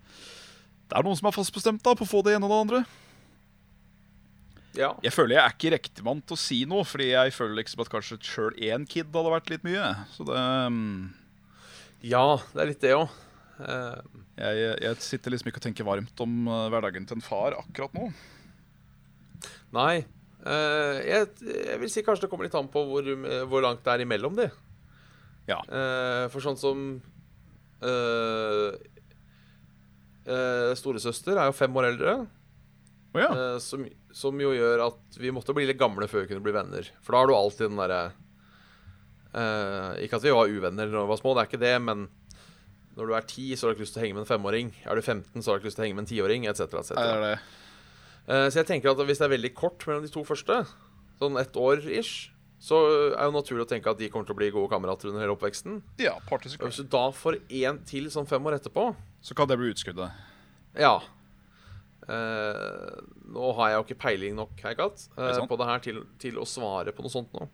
C: det er noen som er fast bestemt da, på å få det ene og det andre.
B: Ja.
C: Jeg føler jeg er ikke riktig mann til å si noe, fordi jeg føler liksom at kanskje sjøl én kid hadde vært litt mye. Så det mm,
B: ja, det er litt det Ehm, òg.
C: Jeg, jeg sitter liksom ikke og tenker varmt om eh, hverdagen til en far akkurat nå.
B: nei. Eh, jeg, jeg vil si kanskje det kommer litt an på hvor, eh, hvor langt det er imellom de.
C: Ja.
B: Eh, for sånn som eh, eh, Storesøster er jo fem år eldre.
C: Å ja.
B: Eh, som, som jo gjør at vi måtte bli litt gamle før vi kunne bli venner. For da har du alltid den derre eh, Ikke at vi var uvenner da vi var små, det er ikke det, men når du er ti, så har du ikke lyst til å henge med en femåring. Er du 15, så har du ikke lyst til å henge med en tiåring, etc. Et
C: Nei, det
B: cetera.
C: er det.
B: Eh, så jeg tenker at hvis det er veldig kort mellom de to første, sånn ett år ish, så er jo naturlig å tenke at de kommer til å bli gode kamerater under hele oppveksten.
C: Ja, partys-
B: Og hvis du da får én til sånn fem år etterpå,
C: Så kan det bli utskuddet.
B: Ja. Eh, nå har jeg jo ikke peiling nok Heikat, eh,
C: er sant.
B: på det her til, til å svare på noe sånt nå.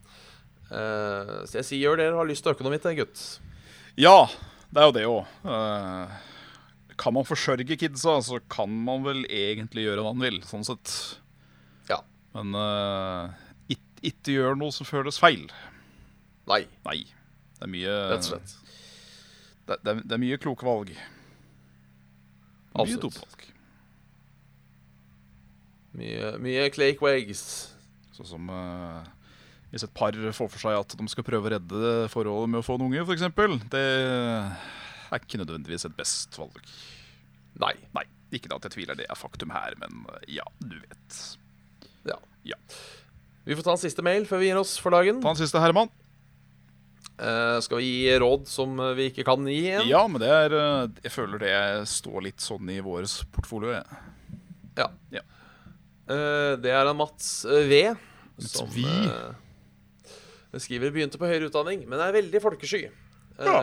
B: Eh, så jeg sier gjør det dere har lyst til å øke noe mitt, eh, gutt.
C: Ja, det er jo det òg. kan man forsørge kidsa, så kan man vel egentlig gjøre hva man vil, sånn sett.
B: Ja.
C: Men eh, it- ikke gjør noe som føles feil.
B: Nei,
C: Nei. Det er mye
B: rett og slett.
C: Eh, Det, det, er- det er mye kloke valg. Mye altså.
B: Absolutt.
C: dopvalg.
B: Mye, mye clay quags.
C: Sånn som eh, hvis et par får for seg at de skal prøve å redde forholdet med å få en unge, f.eks. Det er ikke nødvendigvis et best valg.
B: Nei.
C: Nei, ikke at jeg tviler det er faktum her, men eh, ja, du vet.
B: Ja.
C: Ja.
B: Vi får ta en siste mail før vi gir oss for dagen.
C: Ta en siste, Herman.
B: Eh, skal vi gi råd som eh, vi ikke kan gi igjen?
C: Ja, men det er eh, Jeg føler det står litt sånn i våres portfolio. jeg.
B: Ja.
C: Ja.
B: Eh, det er en Mats eh, V.
C: Mats
B: som,
C: V?
B: eh, skriver begynte på høyere utdanning, men er veldig folkesky. Eh,
C: Ja.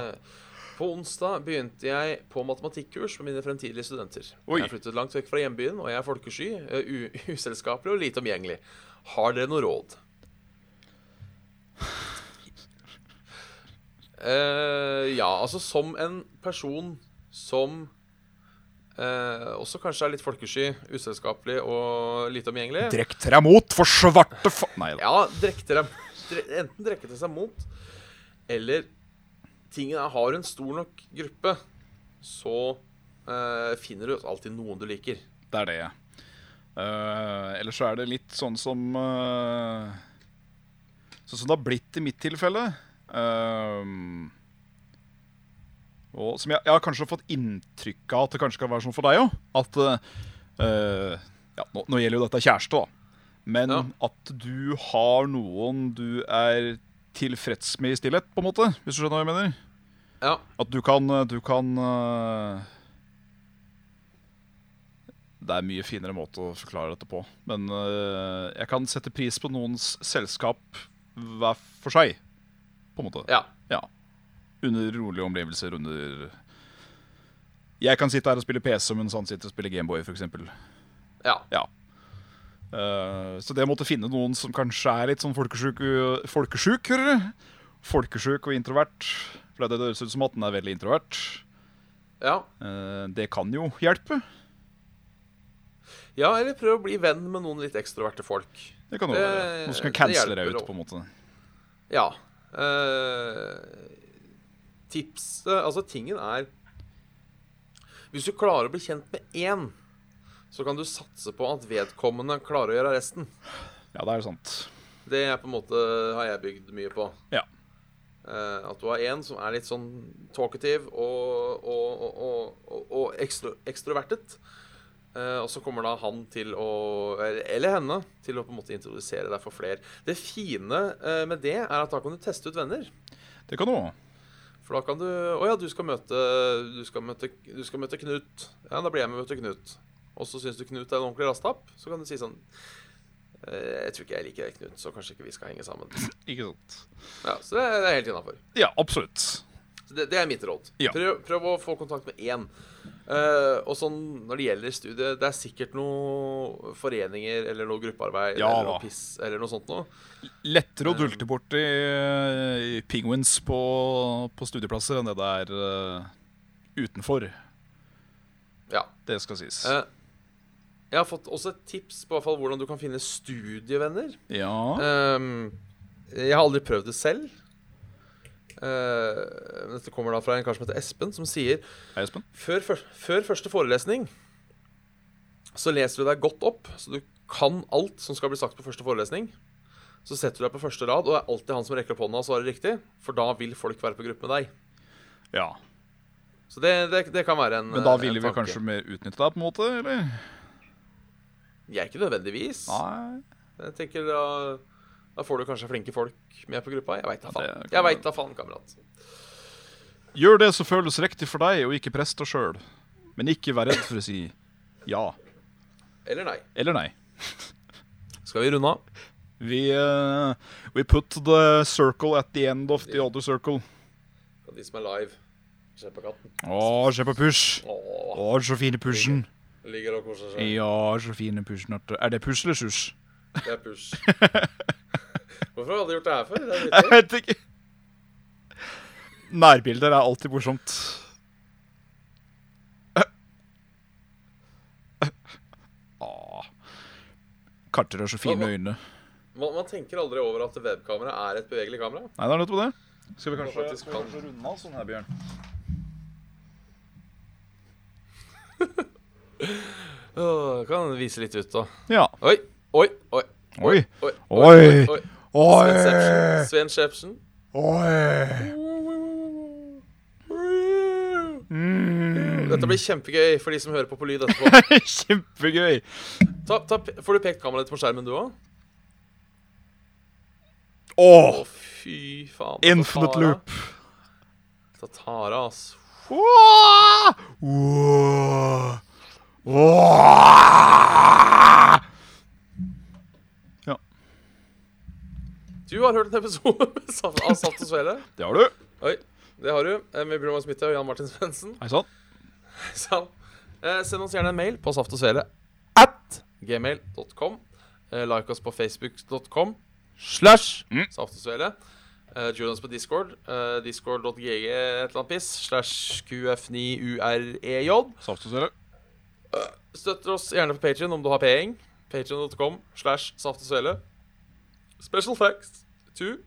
B: på onsdag begynte jeg på matematikkurs med mine fremtidige studenter.
C: Oi.
B: Jeg har flyttet langt vekk fra hjembyen, og jeg er folkesky, eh, u uselskapelig og lite omgjengelig. Har dere noe råd? Eh, ja, altså som en person som eh, også kanskje er litt folkesky, uselskapelig og lite omgjengelig.
C: Drekk dere mot for svarte fa... Nei da.
B: Ja, drekte dem dre- Enten drekket de seg mot Eller Tingen er, har du en stor nok gruppe Så eh, finner du alltid noen du liker
C: Det er det. Uh, ellers så er det litt sånn som eh, Sånn som det har blitt i mitt tilfelle. Ehm, og som jeg, jeg har kanskje fått inntrykk av at det kanskje kan være sånn for deg òg. At eh, eh, ja, nå, nå gjelder jo dette kjæreste, da. Men
B: Ja.
C: at du har noen du er tilfreds med i stillhet, på en måte. Hvis du skjønner hva jeg mener?
B: Ja,
C: At du kan, eh, du kan øh, Det er mye finere måte å forklare dette på. Men øh, jeg kan sette pris på noens selskap hver for seg, på en måte.
B: ja,
C: Under rolige omgivelser, under Jeg kan sitte her og spille PC mens han sitter og spiller Gameboy, f.eks.
B: ja
C: Uh, så det å måtte finne noen som kanskje er litt sånn folkesjuk, folkesjuk hører du? Folkesjuk og introvert. For det høres ut som at den er veldig introvert.
B: Ja,
C: Eh, det kan jo hjelpe.
B: ja eller prøv å bli venn med noen litt ekstroverte folk
C: Det kan jo
B: Det-
C: være. Nå
B: det
C: skal jeg cancele deg
B: hjelper
C: ut,
B: også.
C: på en måte.
B: Ja eh, Tips eh, Altså, tingen er Hvis du klarer å bli kjent med én Så kan du satse på at vedkommende klarer å gjøre resten
C: Ja, det er sant.
B: Det er på en måte har jeg bygd mye på.
C: Ja.
B: Eh, at du har en som er litt sånn talkativ og, og, og, og, og, og ekstro, ekstrovertet. Eh, og så kommer da han til å Eller eller henne til å på en måte introdusere deg for flere. Det fine eh, med det er at da kan du teste ut venner.
C: Det kan du òg.
B: For da kan du Å ja, du skal møte Du skal møte, du skal møte Knut. Ja, da blir jeg med og møter Knut. Og så syns du Knut er en ordentlig rastapp, så kan du si sånn «Eh, Jeg tror ikke jeg liker deg, Knut, så kanskje ikke vi skal henge sammen.
C: Ikke sant?
B: Ja, Så det er, det er helt innafor.
C: Ja, absolutt.
B: Det, det er mitt råd.
C: Ja.
B: Prøv, prøv å få kontakt med én. Eh, og sånn når det gjelder studiet, det er sikkert noen foreninger eller noe gruppearbeid
C: Ja,
B: eller
C: da.
B: noe piss eller noe sånt noe.
C: Lettere å dulte borti eh, penguins på, på studieplasser enn det det er eh, utenfor.
B: Ja.
C: Det skal sies.
B: Eh, jeg har fått også et tips på i hvert fall hvordan du kan finne studievenner.
C: Ja.
B: Ehm, jeg har aldri prøvd det selv. Eh, men dette kommer da fra en kar som heter Espen, som sier
C: Hei, Espen.
B: før, fyr- før første forelesning så leser du deg godt opp, så du kan alt som skal bli sagt på første forelesning. Så setter du deg på første rad, og det er alltid han som rekker opp hånda og svarer riktig. For da vil folk være på gruppe med deg.
C: Ja.
B: Så det, det, det kan være en
C: Men da
B: eh,
C: ville
B: en
C: vi
B: tanke.
C: kanskje mer utnytte deg, på en måte? eller?
B: Jeg er ikke nødvendigvis.
C: Nei.
B: Jeg tenker da, da får du kanskje flinke folk med på gruppa. Jeg veit da
C: Ja, det
B: faen.
C: kan
B: Jeg vet da faen, kamerat.
C: Gjør det som føles riktig for deg, og ikke press deg sjøl. Men ikke vær redd for å si ja
B: Eller nei.
C: eller nei.
B: Skal vi runde av?
C: Vi eh, We put the circle at the end of the other circle.
B: Og de som er live, ser på katten.
C: Å, se på push.
B: Åh,
C: Å, så fine pushen.
B: ligger og koser seg.
C: Ja, så fine pushen. at- Er det push eller sush?
B: Det er push. Hvorfor har alle gjort det her før? Det er
C: Jeg
B: litt-
C: vet ikke. Nærbilder er alltid morsomt. Ah. Karter har så fine øyne.
B: man, man tenker aldri over at webkamera er et bevegelig kamera.
C: Nei, det er nettopp det. Skal vi
B: kanskje- skal vi kanskje
C: runde av sånn her, Bjørn?
B: Åh, kan vise litt ut, da.
C: Ja.
B: Oi, oi, oi.
C: Oi.
B: Oi!
C: Oi.
B: oi.
C: Oi!
B: Sven Skjebsen. Sven Skjebsen.
C: Oi! Mm.
B: Dette blir kjempegøy for de som hører på på lyd etterpå.
C: Kjempegøy.
B: Ta, ta, får du pekt kameraet ditt på skjermen, du òg?
C: Åh,
B: Å, fy faen.
C: infinite
B: Tatara.
C: loop.
B: Tatara, ass.
C: Åh! Åh! Åh!
B: Du har hørt en episode med Saft- av Saft og Svele.
C: Det har du.
B: Oi, det har du. Eh, Med Bjørn Magnus Smitte og Jan Martin Svendsen.
C: Hei sann.
B: Så, eh, Send oss gjerne en mail på Saft og Svele at gmail.com. Eh, Like oss på facebook.com slash
C: Mm.
B: Saft og Svele. Eh, Join oss på Discord. Eh, Discord.gg et eller annet piss slash qf9urej.
C: Saft og svele.
B: e Støtter oss gjerne på Patreon om du har penger. Patreon.com slash Saft og Svele. Special facts to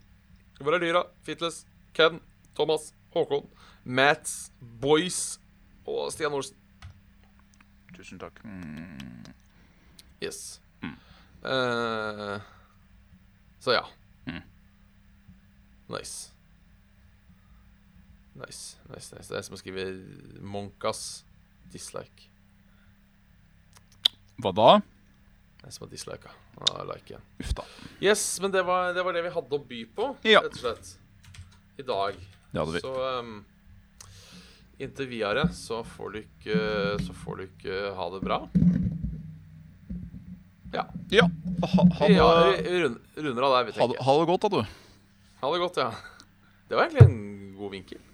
B: Hvor er dyra? Fitles, Ken, Thomas, Håkon, Mats, Boys og Stian Olsen.
C: Tusen takk. Mm.
B: Yes. Eh, så ja.
C: Mm.
B: Nice. Nice, nice, nice. Det er som å skrive Monkas dislike.
C: Hva da?
B: Det er som å dislike. Ah, like igjen.
C: Uff da.
B: Yes, men det var, det var det vi hadde å by på,
C: Ja.
B: rett og slett. I dag.
C: Det hadde vi.
B: Så ehm, inntil videre så får du ikke Så får du ikke ha det bra. Ja.
C: Ja. Ha, ha,
B: Vi, ja
C: det,
B: vi vi rund, runder av der, vi
C: ha, det-
B: tenker.
C: ha det godt, da, du.
B: Ha det godt, ja. Det var egentlig en god vinkel.